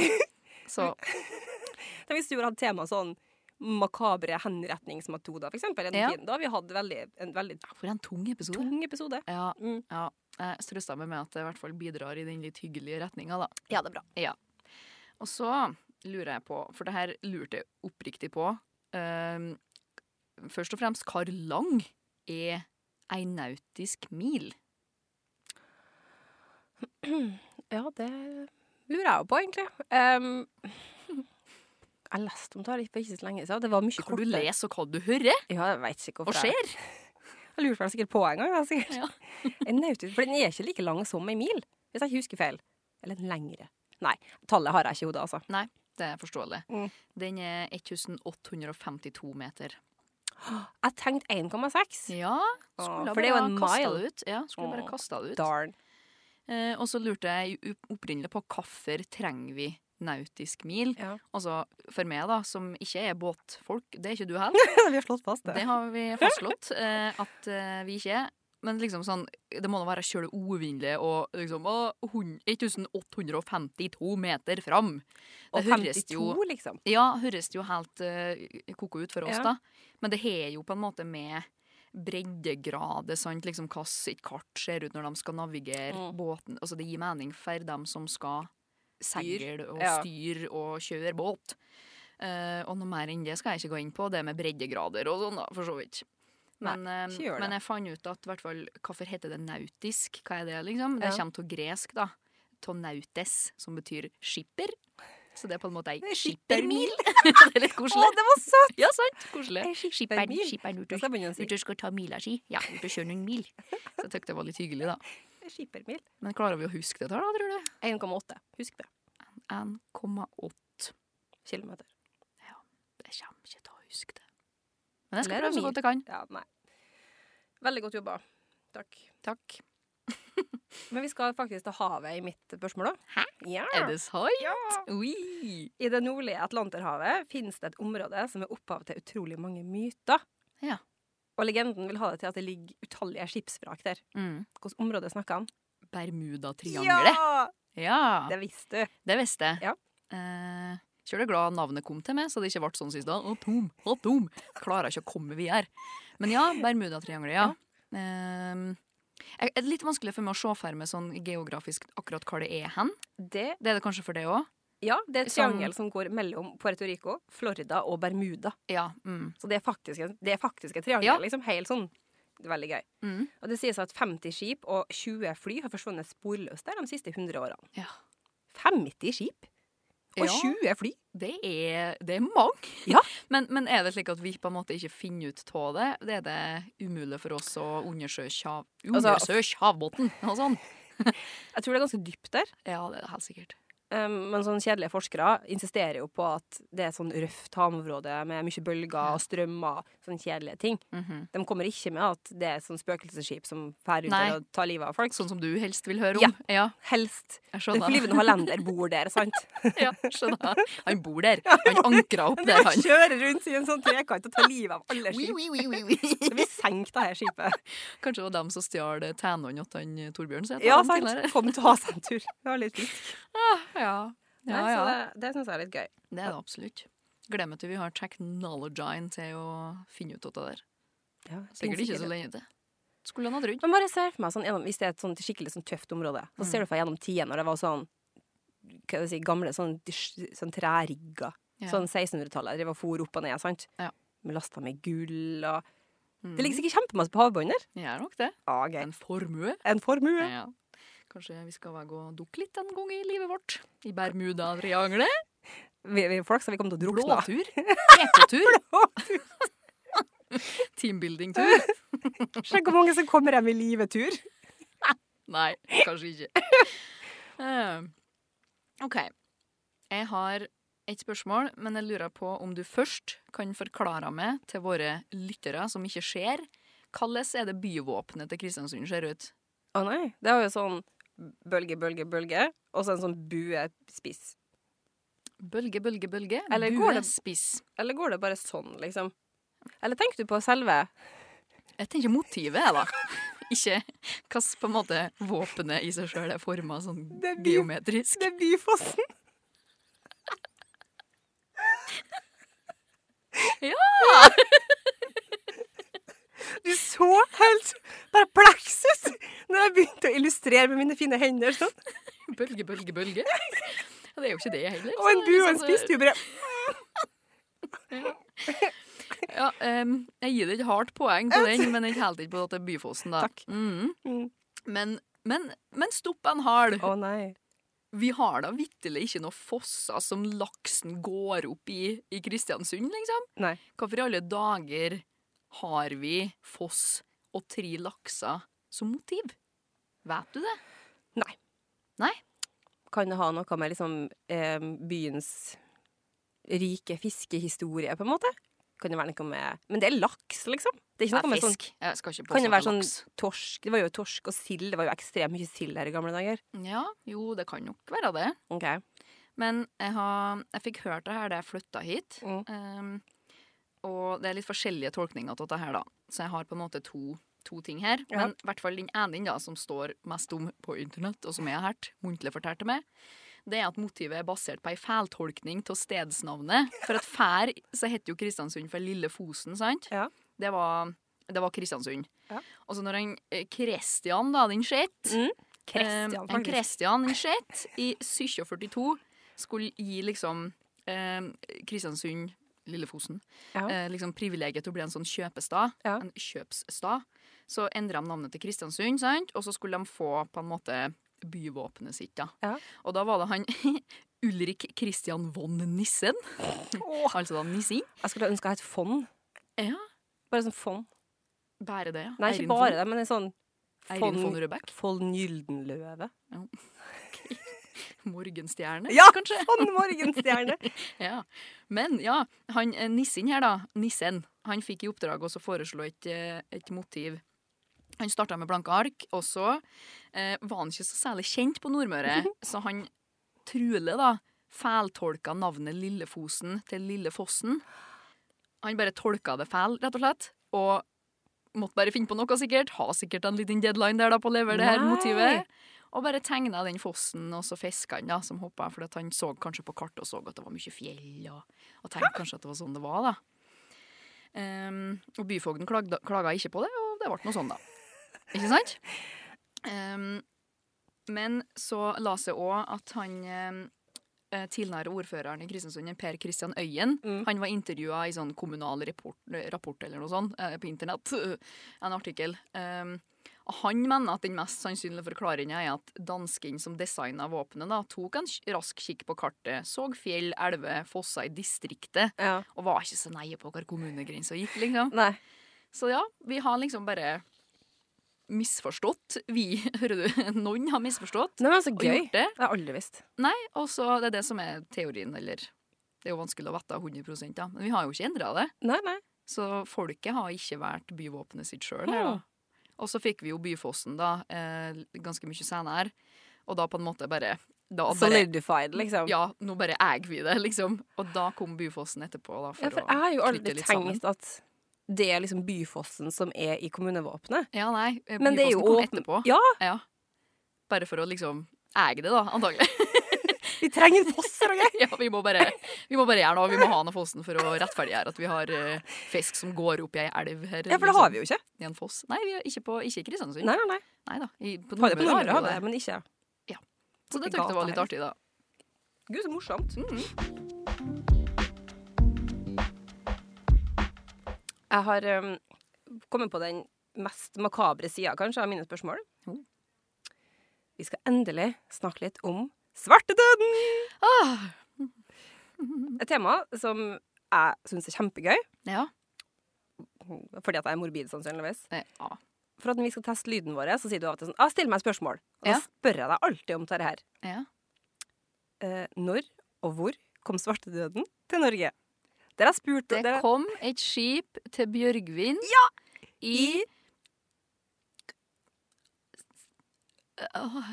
Så Tenk hvis du hadde hatt tema sånn makabre henretningsmetoder, for eksempel. En Ja. fin. Da har vi hatt veldig, en veldig ja, for en tung episode. tung episode. Ja, Mm. ja. Jeg strøsta meg med at det i hvert fall bidrar i den litt hyggelige retninga, da. Ja, det er bra. Og så lurer jeg på, for det her lurte jeg oppriktig på ehm, Først og fremst, hvor lang er ei nautisk mil? Ja, det lurer jeg jo på, egentlig. Ehm, jeg leste om det her for ikke så lenge siden. Det var mye Hva du kortere. leser og hva du hører Ja, jeg vet ikke og hvorfor. ser? Jeg, jeg lurte vel sikkert på en gang. da, sikkert. Ja. *laughs* en nautisk, for den er ikke like lang som en mil, hvis jeg ikke husker feil. Eller lengre. Nei, tallet har jeg ikke i hodet, altså. Det er forståelig. Mm. Den er 1852 meter. Jeg tenkte 1,6. Ja, Åh, skulle for det er jo bare en kastet mile. det Ut. Ja, skulle bare Åh, kasta det ut. *laughs* Darn. Eh, og så lurte jeg opp- opprinnelig på hvorfor trenger vi nautisk mil? Ja. Altså, for meg da, som ikke er båtfolk, det er ikke du heller. vi har slått fast Det har vi fastslått eh, at eh, vi ikke er. Men liksom sånn, det må da være sjøl uvinnelig og liksom å, hun- 1852 meter fram. Og Det høres 52, jo liksom. Ja, høres det jo helt uh, koko ut for oss, Ja. da. Men det har jo på en måte med breddegrader, sant. Liksom hvordan et kart ser ut når de skal navigere Mm. båten. Altså, det gir mening for dem som skal seile og Ja. styre og kjøre båt. Eh, og noe mer enn det skal jeg ikke gå inn på, det med breddegrader og sånn, da, for så vidt. Nei, Men, eh, ikke gjør det. men jeg fant ut at i hvert fall Hvorfor heter det nautisk? Hva er det, liksom? Det Ja. kommer av gresk, da. Av nautes, som betyr skipper. Så det er på en måte ei Det er skippermil. skippermil. *laughs* det er litt Å, koselig. det var søtt! Ja, sant? Koselig. Ei Skipperen, skippermil. skipperen ut Det og, skal jeg begynne å si. ut og skal ta mila si. Ja, ut og kjøre noen mil. Så jeg tykte det var litt hyggelig, da. Skippermil. Men klarer vi å huske dette, her da, tror du? 1,8. Husk det. 1,8. Kilometer. Jeg kommer ikke til å huske det. Men jeg skal Eller prøve så mil. godt jeg kan. Ja, nei. Veldig godt jobba. Takk. Takk. Men vi skal faktisk til havet i mitt spørsmål, da. Hæ? Ja. Er det sant? ja. Ui. I det nordlige Atlanterhavet finnes det et område som er opphav til utrolig mange myter. Ja. Og legenden vil ha det til at det ligger utallige skipsvrak der. Mm. Hvilket område snakker han? Bermudatriangelet. Ja. Det visste du. Det visste jeg. Ja. Eh, Sjøl er jeg glad navnet kom til meg, så det ikke ble sånn sist da. Atom, atom. Klarer ikke å komme videre. Men ja, Bermudatriangelet, ja. Eh, jeg- det er litt vanskelig for meg å se for meg sånn geografisk akkurat hvor det er hen. Det, Det er det kanskje for det òg? ja, det er et Som- triangel som går mellom Puerto Rico, Florida og Bermuda. Ja. Mm. Så det er faktisk, en- det er faktisk et triangel. Ja. Liksom helt sånn. Det er Veldig gøy. Mm. Og det sies at 50 skip og 20 fly har forsvunnet sporløst der de siste 100 årene. Ja. 50 skip Ja. og 20 fly? Det er, det er mange. Ja. *laughs* Men, men er det slik at vi på en måte ikke finner ut av det? Det er det umulig for oss å undersøke hav, Altså- undersøke havbunnen og sånn? Jeg tror det er ganske dypt der. Ja, det er det helt sikkert. Um, men sånne kjedelige forskere insisterer jo på at det er et sånn røft havområde med mye bølger og strømmer. Sånne kjedelige ting. Mhm. De kommer ikke med at det er et sånn spøkelsesskip som fer rundt Nei. der og tar livet av folk. Sånn som du helst vil høre Ja. om? Ja. Helst. jeg Den skjønner. flyvende hollender bor der, sant? *laughs* Ja, skjønner. *laughs* Han bor der. Han ankra opp der, han. Kjører rundt i en sånn trekant og tar livet av alle Oui, skip. oui, oui, oui, oui. Så vi senker det her skipet. *laughs* Kanskje det var dem som stjal tænene til han, eh, Torbjørn? Så jeg tar Ja, dem til sant? her. Kom til å ha seg en tur. Det var litt fint. Ja, ja. Nei, så ja. Det, det syns jeg er litt gøy. Det er det absolutt. Gleder meg til vi har teknologien til å finne ut av det der. Sikkert ikke så lenge til. Skulle han ha trodd. Men bare se for meg sånn, gjennom, hvis det er et sånt skikkelig sånn tøft område, så ser du for deg gjennom tida når det var sånn hva skal jeg si, gamle sånn, dysj- sånn trærigger. Ja. Sånn 1600-tallet. Drev og for opp og ned, sant? Ja. Med lasta med gull og Mm. Det ligger sikkert kjempemasse på havbunnen der. Jeg er nok det. Ja, gøy. En formue. En formue. Ja. Kanskje vi skal gå og dukke litt en gang i livet vårt. I Bermuda-triangelet. Vi, vi, folk som vi kommer til å drukne av. Blåtur. Ekotur. *laughs* *laughs* Teambuilding-tur. Sjekk *laughs* hvor mange som kommer hjem i live-tur. Nei, kanskje ikke. *laughs* Eh, OK. Jeg har et spørsmål, men jeg lurer på om du først kan forklare meg til våre lyttere som ikke ser, hvordan er det byvåpenet til Kristiansund ser ut? Å nei. Det var jo sånn bølge, bølge, bølge, og så en sånn buespiss. Bølge, bølge, bølge. Eller bue, går det- spiss. Eller går det bare sånn, liksom? Eller tenker du på selve Jeg tenker motivet, jeg, *laughs* da. Ikke hvordan på en måte våpenet i seg sjøl er forma sånn Det er by- geometrisk. Det er *laughs* Byfossen. Ja! Du så helt perpleks ut når jeg begynte å illustrere med mine fine hender. Sånn. Bølge, bølge, *laughs* bølge. Ja, Det er jo ikke det heller. Og en så det er bu og liksom en så- spiss. Du bare Ja, em, jeg gir deg et hardt poeng på den, men jeg holder ikke på at det er Byfossen, da. Takk. Mhm. Mm. Men, men, men stopp en hal. Å nei. Vi har da vitterlig ikke noen fosser som laksen går opp i i Kristiansund, liksom. Nei. Hvorfor i alle dager har vi foss og tre lakser som motiv? Vet du det? Kan det ha noe med liksom eh, byens rike fiskehistorie, på en måte? Kan det være noe med Men det er laks, liksom. Det er ikke Jeg noe med sånn fisk. Jeg skal ikke Kan påstå det at være det er sånn laks. torsk Det var jo torsk og sild. Det var jo ekstremt mye sild her i gamle dager. Ja, jo, det kan nok være det. Ok. Men jeg, har, jeg fikk hørt det her da jeg flytta hit. Mm. Ehm, og det er litt forskjellige tolkninger av dette her, da. Så jeg har på en måte to, to ting her. Ja. Men i hvert fall den ene da, som står mest om på internett, og som jeg har hørt muntlig fortalt til meg, det er at motivet er basert på ei feiltolkning av stedsnavnet. For at fær så heter jo Kristiansund for Lille Fosen, sant? Ja. Det var, det var Kristiansund. Ja. Og så når han eh, Kristian, da, den skjett Mm. Kristian, Eh, en faktisk. Kristian Schett i 1742 skulle gi liksom eh, Kristiansund, Lillefosen, Ja. eh, liksom privilegiet til å bli en sånn kjøpestad. Ja. En kjøpsstad. Så endra de navnet til Kristiansund, sant? og så skulle de få på en måte byvåpenet sitt. da. Ja. Og da var det han *laughs* Ulrik Christian von Nissen, Åh, altså da Nissen. jeg skulle ønske jeg hadde et fond. Ja. Bare sånn fond. Bare det. ja. Nei, Eirin ikke von- bare det, men en sånn Eirin von fond, Rødbeck. fond Gyldenløve. Morgenstjerne, Ja! *laughs* kanskje? Fond Morgenstjerne! *laughs* Ja. Men ja, han eh, nissen her da, nissen, han fikk i oppdrag også å foreslå et, eh, et motiv Han starta med blanke ark, og så eh, var han ikke så særlig kjent på Nordmøre, så han trulig da feiltolka navnet Lillefosen til Lillefossen. Han bare tolka det feil, rett og slett, og måtte bare finne på noe, sikkert. Ha sikkert en liten deadline der da på å levere det her Nei. motivet. Og bare tegna den fossen, og så fiska han, da, som hoppa, for at han så kanskje på kartet og så at det var mye fjell, og, og tenkte kanskje at det var sånn det var, da. Ehm, og byfogden klagde, klaga ikke på det, og det ble noe sånn, da. Ikke sant? Ehm, men så las jeg òg at han ehm, eh, tidligere ordføreren i Kristiansund, en Per Christian Øyen, Mm. han var intervjua i sånn kommunal rapport, rapport eller noe sånt eh, på internett. *laughs* En artikkel. Ehm, og han mener at den mest sannsynlige forklaringa er at dansken som designa våpenet, da, tok en kj- rask kikk på kartet, så fjell, elver, fosser i distriktet, Ja. og var ikke så neie på hvor kommunegrensa gikk, liksom. Nei. Så ja, vi har liksom bare misforstått. Vi, *laughs* hører du, noen har misforstått Nei, men så og gøy. gjort det. Det har jeg aldri visst. Nei, og så det er det som er teorien, eller Det er jo vanskelig å vite 100 da, men vi har jo ikke endra det. Nei, nei. Så folket har ikke valgt byvåpenet sitt sjøl her, Hmm. da. Og så fikk vi jo Byfossen, da, eh, ganske mye senere, og da på en måte bare da bare, Solidified, liksom. Ja, nå bare eier vi det, liksom. Og da kom Byfossen etterpå, da, for, Ja, for å jeg har jo knytte aldri litt tenkt sammen. at det er liksom Byfossen som er i kommunevåpenet. Ja, nei. eh, Men det er jo Byfossen kom åpen- etterpå. Ja. Bare for å liksom eie det, da, antagelig. Vi trenger en foss her, *laughs* OK? ja, vi, må bare, vi må bare gjøre noe. Vi må ha noe fossen for å rettferdiggjøre at vi har eh, fisk som går opp i ei elv her. Ja, for det har vi jo ikke. I en foss. Nei, vi er ikke, på, ikke i Kristiansund. Nei, nei, nei. Nei da. I, på På Nordmøre har vi jo Nordmøre har vi det. det, men ikke Så det Oppi tykte jeg var gata litt her. artig, da. Gud, så morsomt. Mm. Jeg har um, kommet på den mest makabre sida, kanskje, av mine spørsmål. Jo. Vi skal endelig snakke litt om svartedøden! Ah, Et tema som jeg syns er kjempegøy, ja. fordi at jeg er morbid, sannsynligvis. Nei, ja. For at når vi skal teste lyden vår, så sier du av og til sånn «Ah, 'Still meg et spørsmål.' Og Ja. da spør jeg deg alltid om dette her. Ja. Eh, når og hvor kom svartedøden til Norge? Der jeg spurte Det der jeg- kom et skip til Bjørgvin i Åh,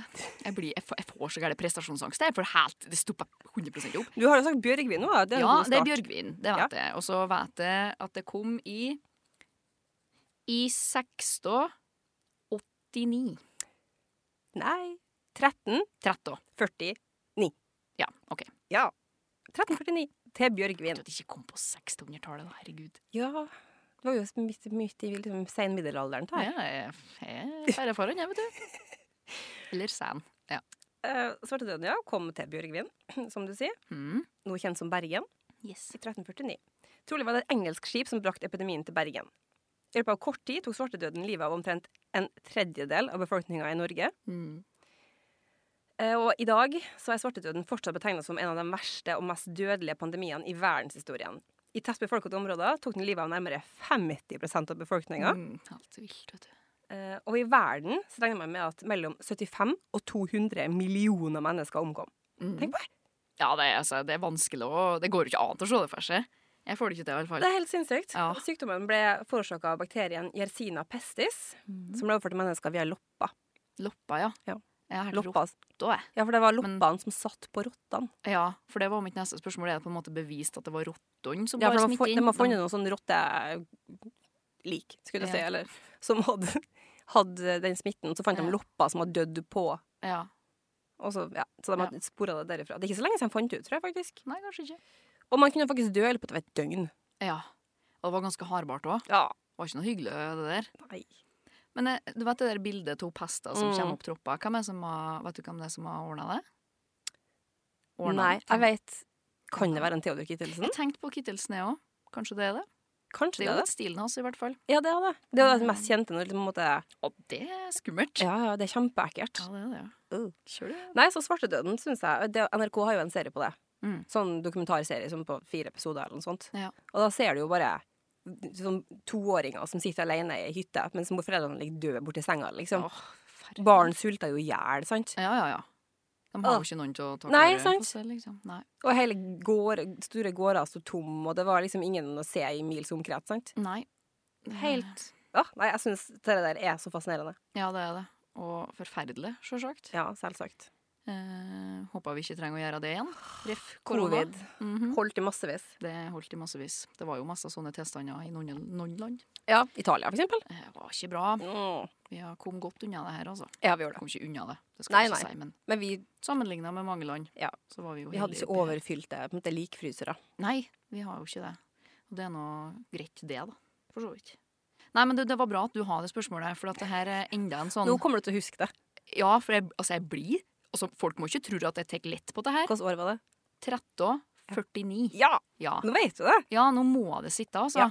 jeg, blir, jeg, får, jeg får så gæren prestasjonsangst. Jeg får helt, det stopper 100 opp. Du har jo sagt Bjørgvin nå, da. det er ja, en god det er start. bjørgvin. Det vet jeg. Og så vet jeg at det kom i I 1689. Nei. 13, 13. 40, Ja, OK. Jeg ja. 1349 til Bjørgvin. tror at det ikke kom på 1600-tallet, da. Herregud. Ja, det var jo midt, midt i liksom, sen middelalderen. Da. Ja, jeg jeg feirer foran, jeg, vet du. Eller sæn. Eh, Svartedøden ja, kom til Bjørgvin, *clears throat* som du sier, Mm. nå kjent som Bergen, Yes. i 1349. Trolig var det et engelsk skip som brakte epidemien til Bergen. I løpet av kort tid tok svartedøden livet av omtrent en tredjedel av befolkninga i Norge. Mm. Eh, Og i dag så er svartedøden fortsatt betegnet som en av de verste og mest dødelige pandemiene i verdenshistorien. I tett befolkede områder tok den livet av nærmere 50 av befolkninga. Mm. Alt vilt, vet du. Eh, Og i verden så regner man med at mellom 75 og 200 millioner mennesker omkom. Mm. Tenk på det! Ja, det, er- altså, det er vanskelig å Det går jo ikke an å se det for seg. Jeg får det ikke til, i hvert fall. Det er helt sinnssykt. Ja. Sykdommen ble forårsaka av bakterien Yersina pestis, Mm. som ble overført til mennesker via loppa. Loppa, ja. Ja. Jeg har hørt loppa. rotta, jeg. Ja, for det var Men- loppene som satt på rottene. Ja, for det var mitt neste spørsmål. Er det på en måte bevist at det var rottene som Ja, bar for de har fun- smitte inn? de har funnet noen sånn rottelik, skulle jeg Ja. si, eller som hadde, hadde den smitten. Så fant Ja. de lopper som hadde dødd på. Ja. Og så, ja, så de hadde spora det derifra. Det er ikke så lenge siden de fant det ut, tror jeg faktisk. Nei, kanskje ikke. Og man kunne faktisk dø i løpet av et døgn. Ja. Og det var ganske hardbart òg. Ja. Var ikke noe hyggelig, det der. Nei. Men eh, du vet det der bildet av hester som Mm. kommer opp troppa? Hvem er det som har, vet du hvem det er som har ordna det? Ordnet Nei, det? jeg vet Kan det være en Theodor Kittelsen? Jeg tenkte på Kittelsen, jeg òg. Kanskje det er det. Kanskje Det er det jo er det. litt stilen hans, i hvert fall. Ja, det er det. Det er jo det mest kjente når liksom, på en måte Og det er skummelt. Ja, ja, det er kjempeekkelt. Ja, det er det. Uh. Kjør det. Nei, så Svartedøden, syns jeg det, NRK har jo en serie på det. Mm. Sånn dokumentarserie som på fire episoder eller noe sånt. Ja. Og da ser du jo bare sånn toåringer som sitter alene i ei hytte mens mor- foreldrene ligger døde borti senga, liksom. Åh, forferdelig. Barn sulter jo i hjel, sant? Ja, ja, ja. De har Åh. jo ikke noen til å ta Nei, kåre sant. på seg, liksom. Nei. Og hele gård, store gårder sto tom, og det var liksom ingen å se i mils omkrets, sant? Nei. Helt Ja, nei, jeg syns det der er så fascinerende. Ja, det er det. Og forferdelig, sjølsagt. Ja, selvsagt. Eh, håper vi ikke trenger å gjøre det igjen. Ref. korona. Covid Mhm. holdt i massevis. Det holdt i massevis. Det var jo masse sånne tilstander i noen, noen land. Ja, Italia, for eksempel. Det var ikke bra. Mm. Vi har kom godt unna det her, altså. Ja, vi gjorde det. Kom ikke unna det, det skal Nei, jeg ikke nei. si, men Men vi, sammenligna med mange land, Ja. så var vi jo vi hadde heldig ikke oppi her. overfylte på en måte, likfrysere. Nei, vi har jo ikke det. Og det er nå greit, det, da. For så vidt. Nei, men det, det var bra at du har det spørsmålet, for at det her er enda en sånn Nå kommer du til å huske det. Ja, for jeg, altså, jeg blir altså, Folk må ikke tro at jeg tar lett på det her. Hvilket år var det? 13 49. Ja! Ja. Nå vet du det! Ja, nå må det sitte, altså. Ja.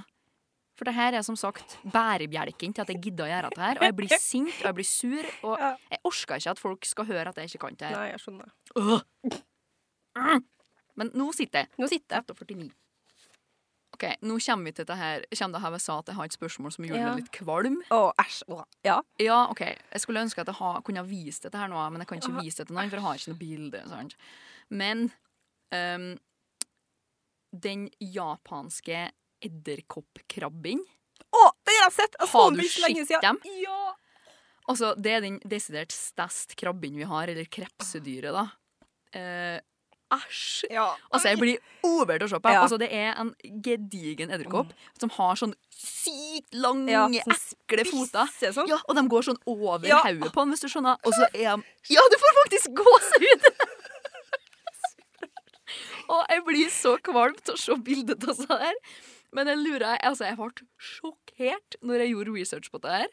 For det her er som sagt bærebjelken til at jeg gidder å gjøre det her. Og jeg blir sint, og jeg blir sur, og Ja. jeg orker ikke at folk skal høre at jeg ikke kan det her. Nei, jeg skjønner. Øh. Mm. Men nå sitter jeg. Nå sitter jeg. 49. OK, nå kommer vi til det her Kommer det her jeg sa at jeg har et spørsmål som gjorde Ja. meg litt kvalm. Å, æsj. Å, ja. Ja, OK, jeg skulle ønske at jeg ha, kunne ha vist dette her nå, men jeg kan ikke Ja, vise det til noen, for jeg har ikke noe bilde. Sant? Men ehm, den japanske edderkoppkrabben Å, den har jeg sett! Jeg så Har den du for ikke lenge sett siden. dem? Ja. Altså, det er den desidert største krabben vi har, eller krepsedyret, da. Eh, Æsj! ja. altså, jeg blir over til å se på. Ja. Altså, det er en gedigen edderkopp som har sånn sykt lange, Ja, sånn ekle foter. Spisse sånn. Ja, og de går sånn over Ja. hodet på han, hvis du skjønner. Og så er han Ja, du får faktisk gåsehud! *laughs* og jeg blir så kvalm til å se bildet av det her. Men jeg lurer Altså, jeg ble sjokkert når jeg gjorde research på det her.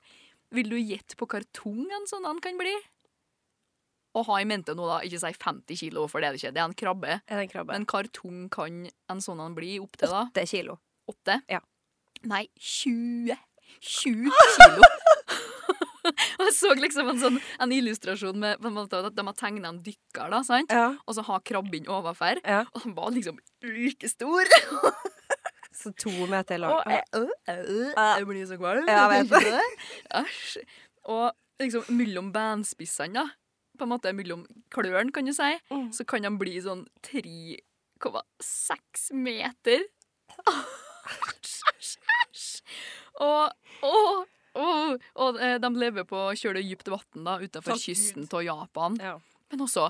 Vil du gjette på hvor tung en sånn en kan bli? Og ha i mente nå, da, ikke si 50 kilo, for det er det ikke. Det er en krabbe. Er det en krabbe? Men hvor tung kan en sånn en bli opptil da? Åtte kilo. Åtte? Ja. Nei, 20. 20 kilo. Og jeg så liksom en sånn en illustrasjon med på en måte, at de har tegna en dykker, da, sant? Ja. og så har krabben overfor. ja. Og han var liksom like stor. Så to meter lang. Og jeg, øh, øh, jeg blir så kvalm. Ja, jeg jeg vet tenker på det. *laughs* Æsj. Og liksom mellom bandspissene, da, på en måte mellom klørne, kan du si, Mm. så kan han bli sånn 3,6 meter. Æsj, æsj, æsj. Og, og, og, og eh, de lever på kjølig dypt vann utenfor Takk kysten av Japan. Ja. Men også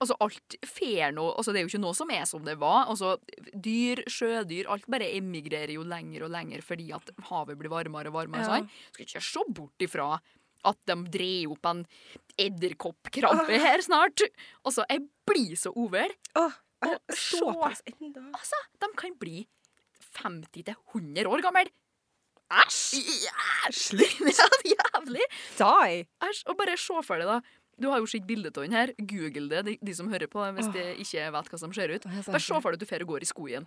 altså alt fer nå altså Det er jo ikke noe som er som det var. altså Dyr, sjødyr, alt bare emigrerer jo lenger og lenger fordi at havet blir varmere og varmere. Ja. Sånn. Skal ikke se bort ifra at de dreier opp en edderkoppkrabbe her snart. Altså, jeg blir så uvel. Åh, jeg Og såpass enda. Altså, de kan bli 50-100 år gamle. Æsj! *laughs* Jævlig! Jævlig! Die! Æsj, og bare se for deg, da. Du har jo sett bilde av den her. Google det, de, de som hører på, hvis de ikke vet hva som ser ut. Jeg ser Bare se for deg at du fer og går i skogen,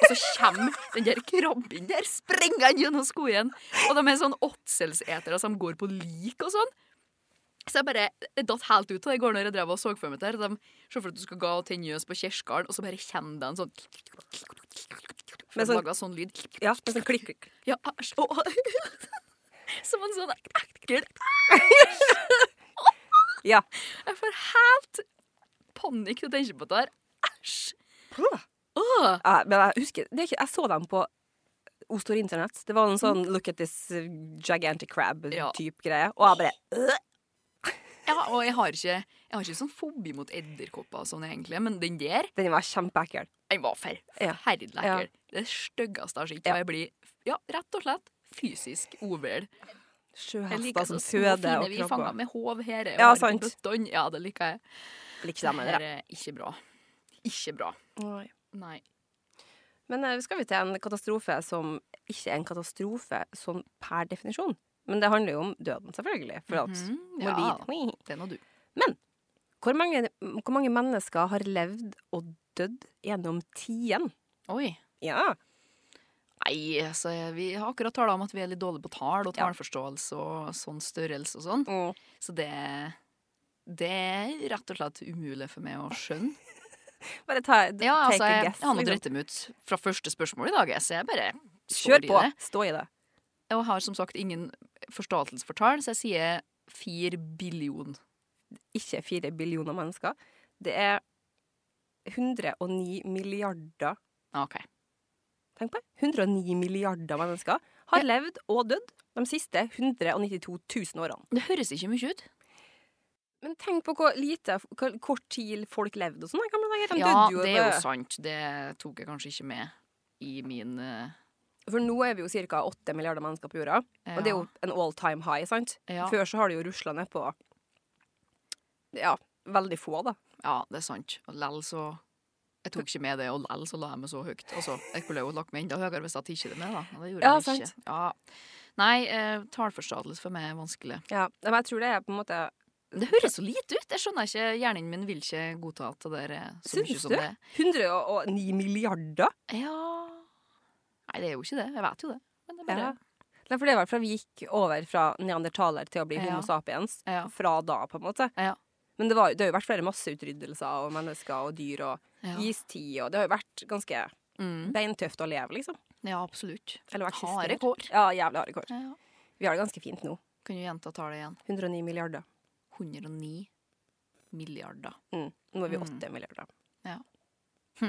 og så kommer den der krabben der sprengende gjennom skogen. Og de er sånn åtselsetere som går på lik og sånn. Så jeg bare jeg datt helt ut av det i går når jeg drev og så for meg det her. De ser for deg at du skal gå og tenne ljøs på kirkegården, og så bare kommer det en sånn Med Med sånn- sånn, sånn lyd. Ja, med sånn klikk, klikk. Ja, æsj. Å, *laughs* som en sånn ekkel *laughs* Ja. Jeg får helt panikk til å tenke på det her. Æsj! Åh, Ja, men jeg husker det er ikke, Jeg så dem på O Store Internett. Det var en sånn Look at this uh, gigantic crab-type Mm. Ja. greie. Og jeg bare Ja, og jeg har ikke, jeg har ikke sånn fobi mot edderkopper og sånn egentlig, men den der, Den var kjempeekkel. den var Ja. forferdelig Ja. ekkel. Det styggeste jeg har sett. Ja. Og jeg blir, ja, rett og slett fysisk uvel. Jeg Sjøhester liker som så små føder fine og vi fanger krabber. med hov her. og Ja, har på sant. bøttene. Ja, det liker jeg. Liker Det ikke dem her heller. er ikke bra. Ikke bra. jeg. Nei. Men eh, skal vi til en katastrofe som ikke er en katastrofe sånn per definisjon. Men det handler jo om døden, selvfølgelig. For at Mhm, ja, morbid. det er nå du. Hvor mange, hvor mange mennesker har levd og dødd gjennom tiden? Oi. Ja. Nei, altså, vi har akkurat tala om at vi er litt dårlige på tall og Ja. tallforståelse og sånn størrelse og sånn. Mm. Så det, det er rett og slett umulig for meg å skjønne. Bare ta take *laughs* Ja, altså, a jeg, guess. jeg har nå liksom. dritt dem ut fra første spørsmål i dag, jeg, så jeg bare står Kjør i på! det. Stå i det. Jeg har som sagt ingen forståelse for tall, så jeg sier fire billion. Ikke fire billioner mennesker. Det er 109 milliarder OK. Tenk på det. 109 milliarder mennesker har levd og dødd de siste 192 000 årene. Det høres ikke mye ut. Men tenk på hvor lite, hvor kort tid folk levde og sånn. i gamle dager. De Ja, døde jo. det og er jo døde. sant. Det tok jeg kanskje ikke med i min eh, For nå er vi jo ca. 8 milliarder mennesker på jorda, ja. og det er jo en all time high. sant? ja. Før så har det jo rusla ned på ja, veldig få, da. ja, det er sant. Og lell så Jeg tok ikke med det, og lell så la jeg meg så høyt. Og så, Jeg kunne jo lagt meg enda høyere hvis jeg tok ikke det med, da. Og det gjorde Ja, jeg sant. ikke. Ja. Nei, eh, tallforståelse for meg er vanskelig. Ja, men jeg tror det er på en måte *laughs* Det høres så lite ut! Jeg skjønner ikke, Hjernen min vil ikke godta at det der er så Syns mye som du? det. 109 milliarder. er. Ja Nei, det er jo ikke det. Jeg vet jo det. Men det er bare Ja. Nei, for det var fra vi gikk over fra neandertaler til å bli Ja. homo sapiens. Ja. Fra da, på en måte. Ja. Men det, var, jo- det har jo vært flere masseutryddelser og mennesker og dyr og Ja, istid, og det har jo vært ganske mm. beintøft å leve, liksom. ja absolutt. Eller vært Harde systemert. kår. Ja, jævlig harde kår. Ja, ja. Vi har det ganske fint nå. Kan du gjenta tallet igjen? 109 milliarder. 109 milliarder. Mm. Nå er vi Mm. 8 milliarder. Det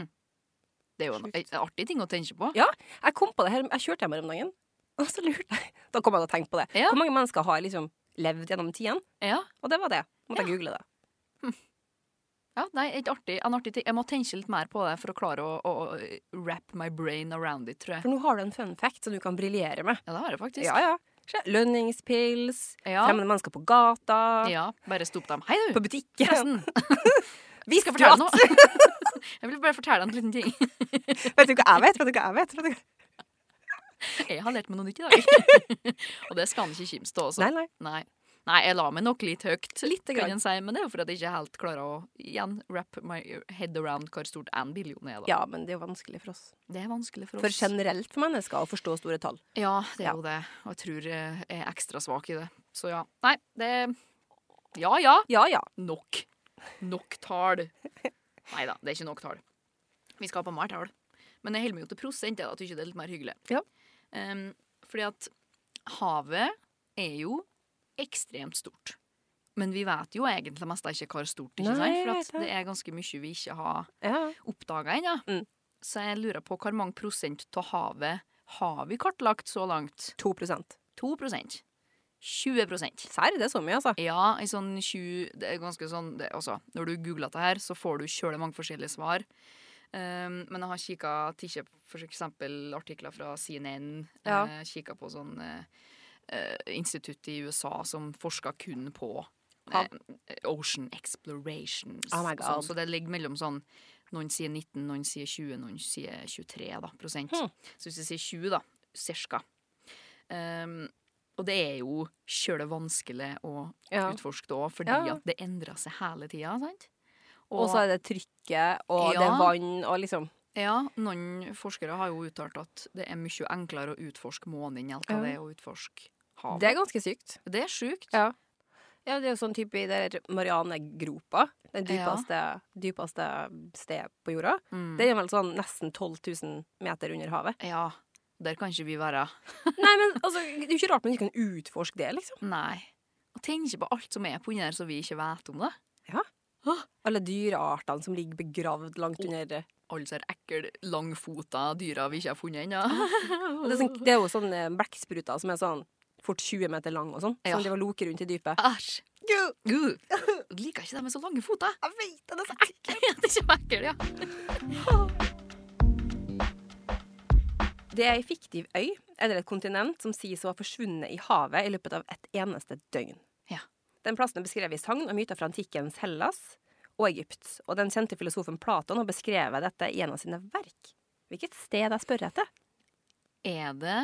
er jo en, Sjukt. en artig ting å tenke på. Ja. Jeg kom på det her, jeg kjørte hjem her om dagen, og så lurte jeg Da kom jeg til å tenke på det. Ja. Hvor mange mennesker har liksom levd gjennom tiden? Ja, Og det var det. Måtte jeg google det. ja nei, et artig, en artig ting. Jeg må tenke litt mer på det for å klare å, å, å wrap my brain around it, tror jeg. For nå har du en fun fact som du kan briljere med. Ja, det har jeg faktisk. Ja, ja. Se, Lønningspils, Ja. fremmede mennesker på gata, Ja, bare stop dem. Hei, du! på butikken. *laughs* Forresten, Vi skal jeg fortelle deg noe? *laughs* Jeg vil bare fortelle deg en liten ting. Vet du hva jeg vet? Vet du hva jeg vet? Vet du hva- Jeg har lært meg noe nytt i dag. *laughs* Og det skal han ikke kimse av, altså. Nei, nei. Nei. Nei, jeg la meg nok litt høyt, Litt kan grann. en si, men det er jo fordi jeg ikke helt klarer å igjen wrap my head around hvor stort en billion er. da. Ja, men det er jo vanskelig for oss. Det er vanskelig for For oss. generelt for mennesker å forstå store tall. Ja, det er Ja. jo det. Og jeg tror eh, jeg er ekstra svak i det. Så ja. Nei, det Ja ja, Ja, ja. nok. Nok tall. Nei da, det er ikke nok tall. Vi skal ha på mer tall. Men jeg holder meg jo til prosent, jeg, da, at ikke det er litt mer hyggelig. Ja. Em, fordi at havet er jo ekstremt stort. Men vi vet jo egentlig mest ikke hvor stort, ikke Nei, sant? jeg For vet det. at det er ganske mye vi ikke har ja. oppdaga ennå. Mm. Så jeg lurer på hvor mange prosent av havet har vi kartlagt så langt? 2 prosent. 2 20 Serr, det er så mye, altså. Ja, i sånn 20 Det er ganske sånn det, altså, Når du googler dette her, så får du kjøle mange forskjellige svar. Um, men jeg har kikka til for eksempel artikler fra CNN. Ja. eh, kikka på sånn eh, eh, institutt i USA som forsker kun på Hav. eh, ocean explorations. Oh my God. Sånn, så det ligger mellom sånn Noen sier 19, noen sier 20, noen sier 23 da, prosent. Hmm. Så hvis vi sier 20, da, cirka. Um, og det er jo sjøl vanskelig å Ja. utforske da, fordi Ja. at det endrer seg hele tida, sant? Og så er det trykket, og det er Ja. vann, og liksom ja, noen forskere har jo uttalt at det er mye enklere å utforske månen enn alt Ja. det er å utforske havet. Det er ganske sykt. Det, er sjukt. Ja. Ja, det er jo sånn type i det der Marianegropa, det Ja. dypeste, dypeste stedet på jorda. Mm. Det er vel sånn nesten 12 000 meter under havet. *laughs* ja. Der kan ikke vi være. Nei, men altså, det er jo ikke rart man ikke kan utforske det, liksom. Nei. Og tenk på alt som er på under så vi ikke vet om det. Alle dyreartene som ligger begravd langt under Alle disse ekle, langfota dyra vi ikke har funnet ennå. Og *laughs* det, er sånn, det er jo sånne blekkspruter som er sånn fort 20 meter lang og sånn, Ja. som driver og loker rundt i dypet. *laughs* Æsj! Gud, Gud! Jeg liker ikke det med så lange føtter. jeg vet det, det er så Det er ikke ekkelt, *laughs* ja. Det er ei fiktiv øy, eller et kontinent, som sies å ha forsvunnet i havet i løpet av et eneste døgn. Ja. Den plassen er beskrevet i sagn og myter fra antikkens Hellas og Egypt, og den kjente filosofen Platon har beskrevet dette i en av sine verk. Hvilket sted jeg spør etter? Er det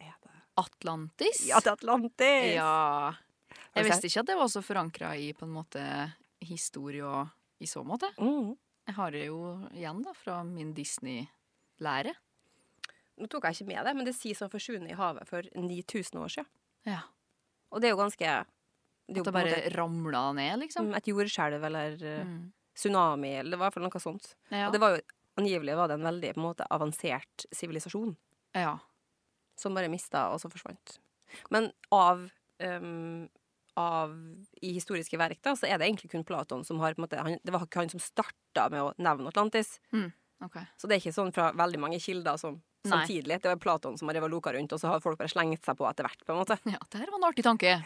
Er det Atlantis? Ja, til Atlantis! Ja. Har Jeg du visste ikke at det var så forankra i på en måte historie og i så måte. Mm. Jeg har det jo igjen da fra min Disney-lære. Nå tok jeg ikke med det, men det sies å ha forsvunnet i havet for 9000 år siden. Ja. Og det er jo ganske Det At er jo det på en bare måte ramla ned, liksom. mm, et jordskjelv eller eh, Mm. tsunami, eller det var i hvert fall noe sånt. Ja. Og det var jo angivelig var det en veldig på en måte avansert sivilisasjon. ja. som bare mista og så forsvant. Men av, ehm, av i historiske verk da, så er det egentlig kun Platon som har på en måte, han, Det var ikke han som starta med å nevne Atlantis. OK. Så det er ikke sånn fra veldig mange kilder som Nei. samtidig. Det var Platon som har revet loka rundt, og så har folk bare slengt seg på etter hvert. på en måte. Ja, det her var en artig *laughs* tanke.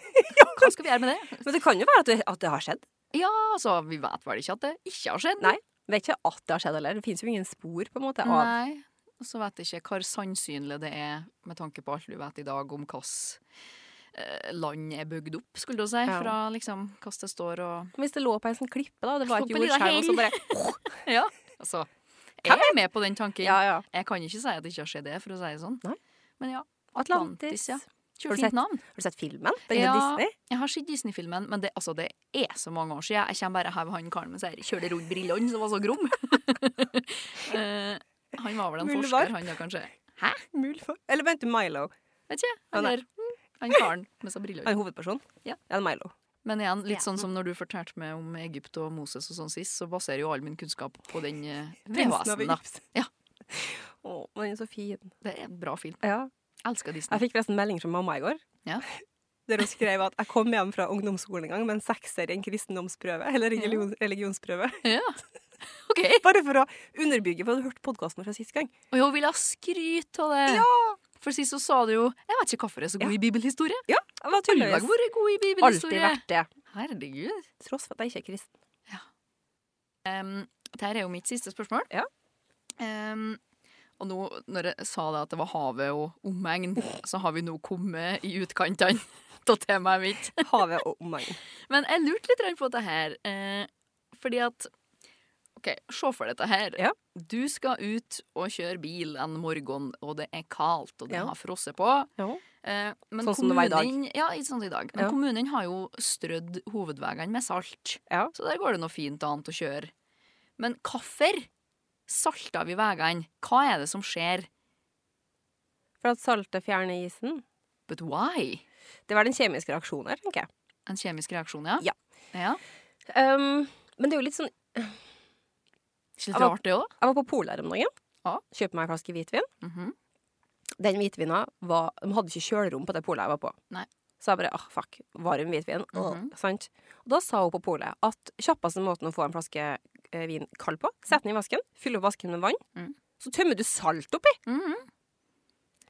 Hva skal vi gjøre med det? Men det kan jo være at det, at det har skjedd. Ja, altså, vi vet vel ikke at det ikke har skjedd. Nei. Vet ikke at det har skjedd heller. Det fins jo ingen spor på en måte av Nei. Og så vet jeg ikke hvor sannsynlig det er, med tanke på alt du vet i dag om hvordan land er bygd opp, skulle du si, Ja. fra liksom hvordan det står og Hvis det lå på en sånn klippe, da, og det var Stå et på en liten jordskjelv, og så bare Ja, altså. Jeg er med på den tanken. Ja, ja. Jeg kan ikke si at det ikke har skjedd det, for å si det sånn. Nei. Men ja. Atlantis. ja. Har du Kjørfint sett- navn. Har du sett filmen? Den ja. Ja. Disney? Jeg har sett Disney-filmen, men det, altså, det er så mange år siden. Jeg kommer bare her ved han karen med seg kjøler rundt brillene, som var så grom. *laughs* Eh, han var vel en Muldvarp. forsker, han da, kanskje. Mulfor. Eller vent, Milo. Vet ikke, Å, nei. eller mm, han karen med seg brillene. Han er hovedpersonen. Ja. det er Milo. Men igjen, litt sånn som når du fortalte meg om Egypt og Moses og sånn sist, så baserer jo all min kunnskap på den eh, VHS-en, da. *laughs* Ja. Å, men den er så fin. Det er en bra film. Ja. Jeg elsker Jeg Disney. fikk forresten melding fra mamma i går. Ja. *laughs* Der hun skrev at jeg kom hjem fra ungdomsskolen en gang med en sekser i en kristendomsprøve. *laughs* Eller religion, religionsprøve. *laughs* Ja. *laughs* OK. Bare for å underbygge, for jeg hadde hørt podkasten vår fra sist gang. Og hun ville ha skryt av det. For sist så sa du jo 'Jeg vet ikke hvorfor jeg er så god i bibelhistorie'. Ja, jeg Du var har tydeligvis vært god i alltid bibelhistorie. vært det. Herregud. Tross for at jeg ikke er kristen. Um, Dette er jo mitt siste spørsmål. Ja. Em, og nå, når jeg sa det at det var havet og omegn, så har vi nå kommet i utkantene *laughs* av temaet mitt. Havet og omegn. Men jeg lurte litt grann på dette her, eh, fordi at OK, se for deg dette her. Ja. Du skal ut og kjøre bil en morgen, og det er kaldt, og det Ja. har frosset på. *laughs* Ja. Eh, men Sånn som det var i dag. kommunen- Ja, i- sånn som i dag. Men Ja. kommunen har jo strødd hovedveiene med salt, Ja. så der går det noe fint annet å kjøre. Men hvorfor salter vi veiene? Hva er det som skjer? For at saltet fjerner isen. But why? Det var den kjemiske reaksjonen her, tenker jeg. En kjemisk reaksjon, ja? Ja. Ja. Um, men det er jo litt sånn Ikke Ja, litt men- rart, det òg? Jeg var på Polet her om dagen. Ja. Kjøpte meg en flaske hvitvin. Mhm. Den hvitvina var, de hadde ikke kjølerom på det polet jeg var på. Nei. Så jeg bare ah, fuck, varm hvitvin. Åh, Mhm. sant? Og da sa hun på polet at kjappeste måten å få en flaske eh, vin kald på, sett den i vasken, fyll opp vasken med vann, Mhm. så tømmer du salt oppi.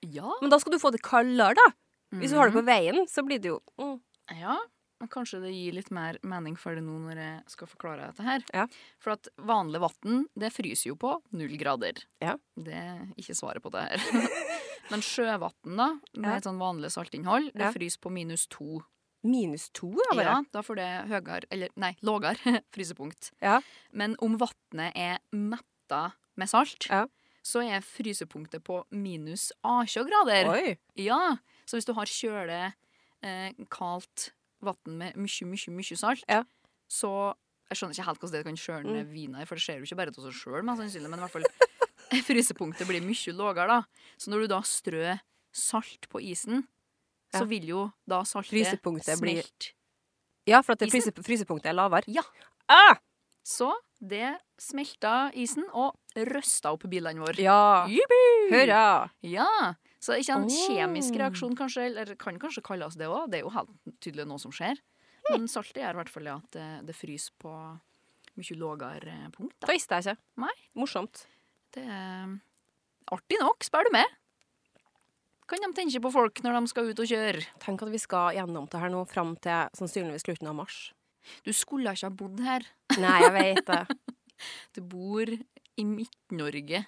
Ja. Men da skal du få det kaldere, da. Hvis du har Mhm. det på veien, så blir det jo mm, Ja, men kanskje det gir litt mer mening for det nå når jeg skal forklare dette her. Ja. For at vanlig vann, det fryser jo på null grader. Ja. Det er ikke svaret på det her. *laughs* men sjøvann, da, med Ja. et sånn vanlig saltinnhold, det Ja. fryser på minus to. minus to, ja, bare. Ja, da får det høyere, eller nei, lågere *laughs* frysepunkt. Ja. Men om vannet er metta med salt, Ja. så er frysepunktet på minus 20 grader. Oi. Ja, så hvis du har kjøle eh, kaldt vann med mye, mye, mye salt, Ja. Mm. så jeg skjønner ikke helt hvordan det kan kjøle ned vina i, for det ser jo ikke bare til seg sjøl, mest sannsynlig, men i hvert fall *laughs* frysepunktet blir mye lavere, da. Så når du da strør salt på isen, Ja. så vil jo da saltet Frysepunktet blir- smelte. Ja, for at det fryse, Isen? frysepunktet er lavere. Ja. Ah! Så det smelta isen og røsta opp bilene våre. ja. Hurra! Ja, så ikke en Åh. kjemisk reaksjon kanskje, eller kan kanskje kalles det òg. Det er jo helt tydelig noe som skjer. Hm. Men saltet gjør i hvert fall at det, det fryser på mye lavere punkt. Da Da. visste jeg ikke. Nei. Morsomt. Det er artig nok, spør du meg. Kan de tenke på folk når de skal ut og kjøre? Tenk at vi skal gjennom det her nå fram til sannsynligvis slutten av mars. Du skulle ikke ha bodd her. Nei, jeg vet det. Du bor i Midt-Norge,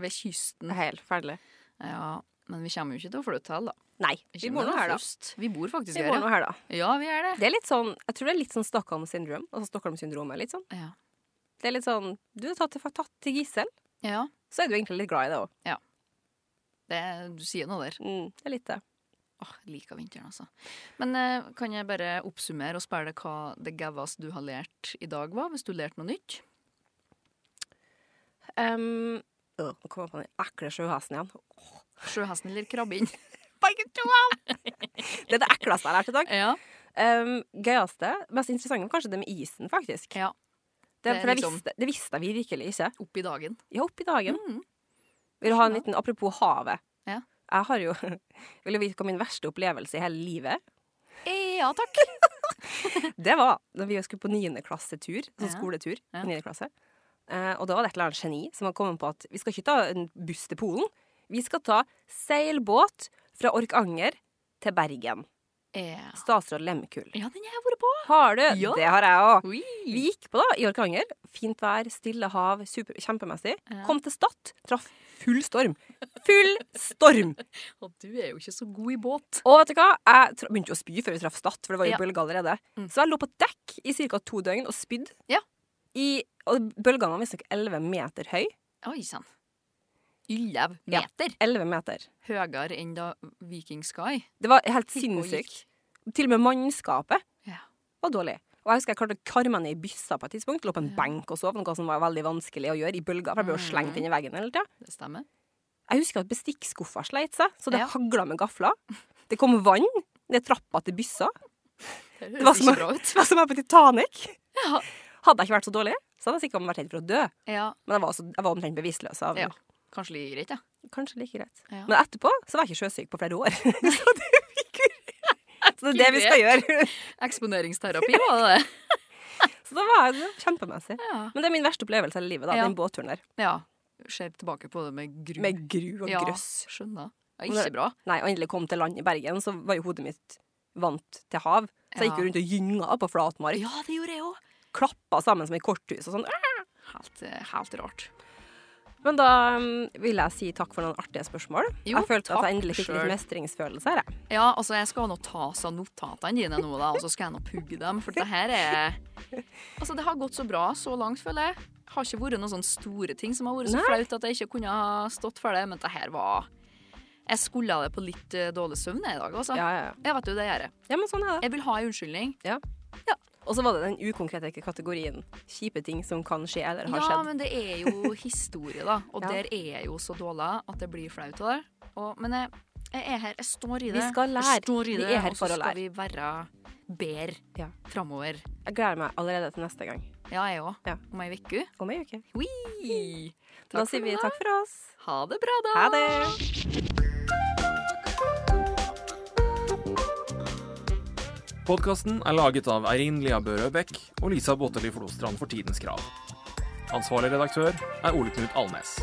ved kysten. Helt ferdig. Ja, men vi kommer jo ikke til å flytte til, da. Nei, vi Ikke bor med nå noe her, da. først. Vi bor faktisk Vi her, bor nå ja. her, da. Ja, vi er det. Det er litt sånn, jeg tror det er litt sånn Stockholm syndrom. Altså Stockholm syndrom er litt sånn. Ja. Det er litt sånn, du er tatt til, tatt til gissel, ja. så er du egentlig litt glad i det òg. Det, du sier noe der. Mm, det er litt det. Åh, jeg liker vinteren, altså. Men eh, kan jeg bare oppsummere og spørre deg hva det gauas du har lært i dag var, hvis du lærte noe nytt? Um, øh, nå kom jeg på den ekle sjøhesten igjen. Sjøhesten eller krabben? *laughs* Det er det ekleste jeg har lært i dag. ja. Um, gøyeste, mest interessante var kanskje det med isen, faktisk. Ja. Det, Det er for det liksom- visste, det visste vi virkelig ikke. Opp i dagen. Ja, opp i dagen. Mm. Vil du ha en liten apropos havet? Ja. Jeg har jo *laughs* Vil du vite hva min verste opplevelse i hele livet? Eh, ja takk. Det var da vi skulle på niendeklassetur, sånn Ja. skoletur. Ja. i 9. klasse. Eh, og da var det et eller annet geni som hadde kommet på at vi skal ikke ta en buss til Polen, Vi skal ta seilbåt fra Orkanger til Bergen. Ja, Statsråd Lemmekull. Eh, ja den har jeg vært på. Har du? Ja. Det har jeg òg. Ui. Vi gikk på da, i Orkanger. Fint vær, stille hav, super, kjempemessig. Ja. Kom til Stad, traff full storm. Full storm! Og du er jo ikke så god i båt. Og vet du hva? Jeg tra- begynte jo å spy før vi traff Stad, for det var jo Ja. bølger allerede. Mm. Så jeg lå på dekk i ca. to døgn og spydde. Ja. I, og bølgene var visstnok 11 meter høy. Oi sann. Yllev Ja. meter 11 meter. høyere enn da Viking Sky Det var helt gikk og gikk. sinnssykt. Til og med mannskapet Ja. var dårlig. Og jeg husker jeg klarte å karre meg ned i byssa på et tidspunkt. Lå på en Ja. benk og sov, noe som var veldig vanskelig å gjøre i bølger. For jeg ble jo Mhm. slengt inn i veggen hele tida. Det stemmer. Jeg husker at bestikkskuffa sleit seg, så det Ja. hagla med gafler. Det kom vann ned trappa til byssa. Det var høres som å- ikke bra ut. Det var som jeg på Titanic. *laughs* Ja. Hadde jeg ikke vært så dårlig, så hadde jeg sikkert vært redd for å dø. Ja, Men jeg var, også, jeg var omtrent bevisstløs. Av, Ja. kanskje litt greit, ja. Kanskje like greit. Ja. Men etterpå så var jeg ikke sjøsyk på flere år. *laughs* så det gikk Så det er det vi skal gjøre. Eksponeringsterapi var det. Så da var jeg kjempemessig. Ja. Men det er min verste opplevelse av livet, da, Ja. den båtturen der. ja. Ser tilbake på det med gru. Med gru og Ja, grøss. Skjønner. Ja, Og det- ikke bra. Nei, og endelig kom til land i Bergen, så var jo hodet mitt vant til hav. Så jeg gikk jo rundt og gynga på flatmark. Ja, det gjorde jeg òg. Klappa sammen som i korthus og sånn. Helt, eh, helt rart. Men da um, vil jeg si takk for noen artige spørsmål. Jo, jeg følte at takk jeg endelig fikk selv. litt mestringsfølelse her. jeg. Ja, altså, jeg skal nå ta seg notatene dine nå, da, og så skal jeg nå pugge dem, for det her er Altså, det har gått så bra så langt, føler jeg. Har ikke vært noen sånne store ting som har vært så Nei. flaut at jeg ikke kunne ha stått for det, men det her var Jeg skulle det på litt eh, dårlig søvn jeg i dag, altså. Ja, ja, ja. Jeg vet jo det gjør jeg. ja, men sånn er det. Jeg vil ha en unnskyldning. Og så var det den ukonkrete kategorien kjipe ting som kan skje eller har Ja, skjedd. men det er *laughs* jo historie, da. Og Ja. der er jeg jo så dårlig at det blir flaut av det. Og, men jeg, jeg er her. Jeg står i det. Vi skal lære. Jeg står i Vi det, er her og så for å lære. skal vi være bedre Ja. framover. Jeg gleder meg allerede til neste gang. Ja, jeg òg. Ja. Om ei uke. Om ei uke. Hui! Da for sier vi nå. takk for oss. Ha det bra, da. Ha det. Podkasten er laget av Eirin Lia Børø Bech og Lisa Båteli Flostrand for Tidens Krav. Ansvarlig redaktør er Ole Knut Alnes.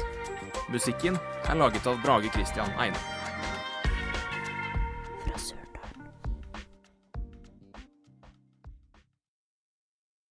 Musikken er laget av Brage Christian Eine.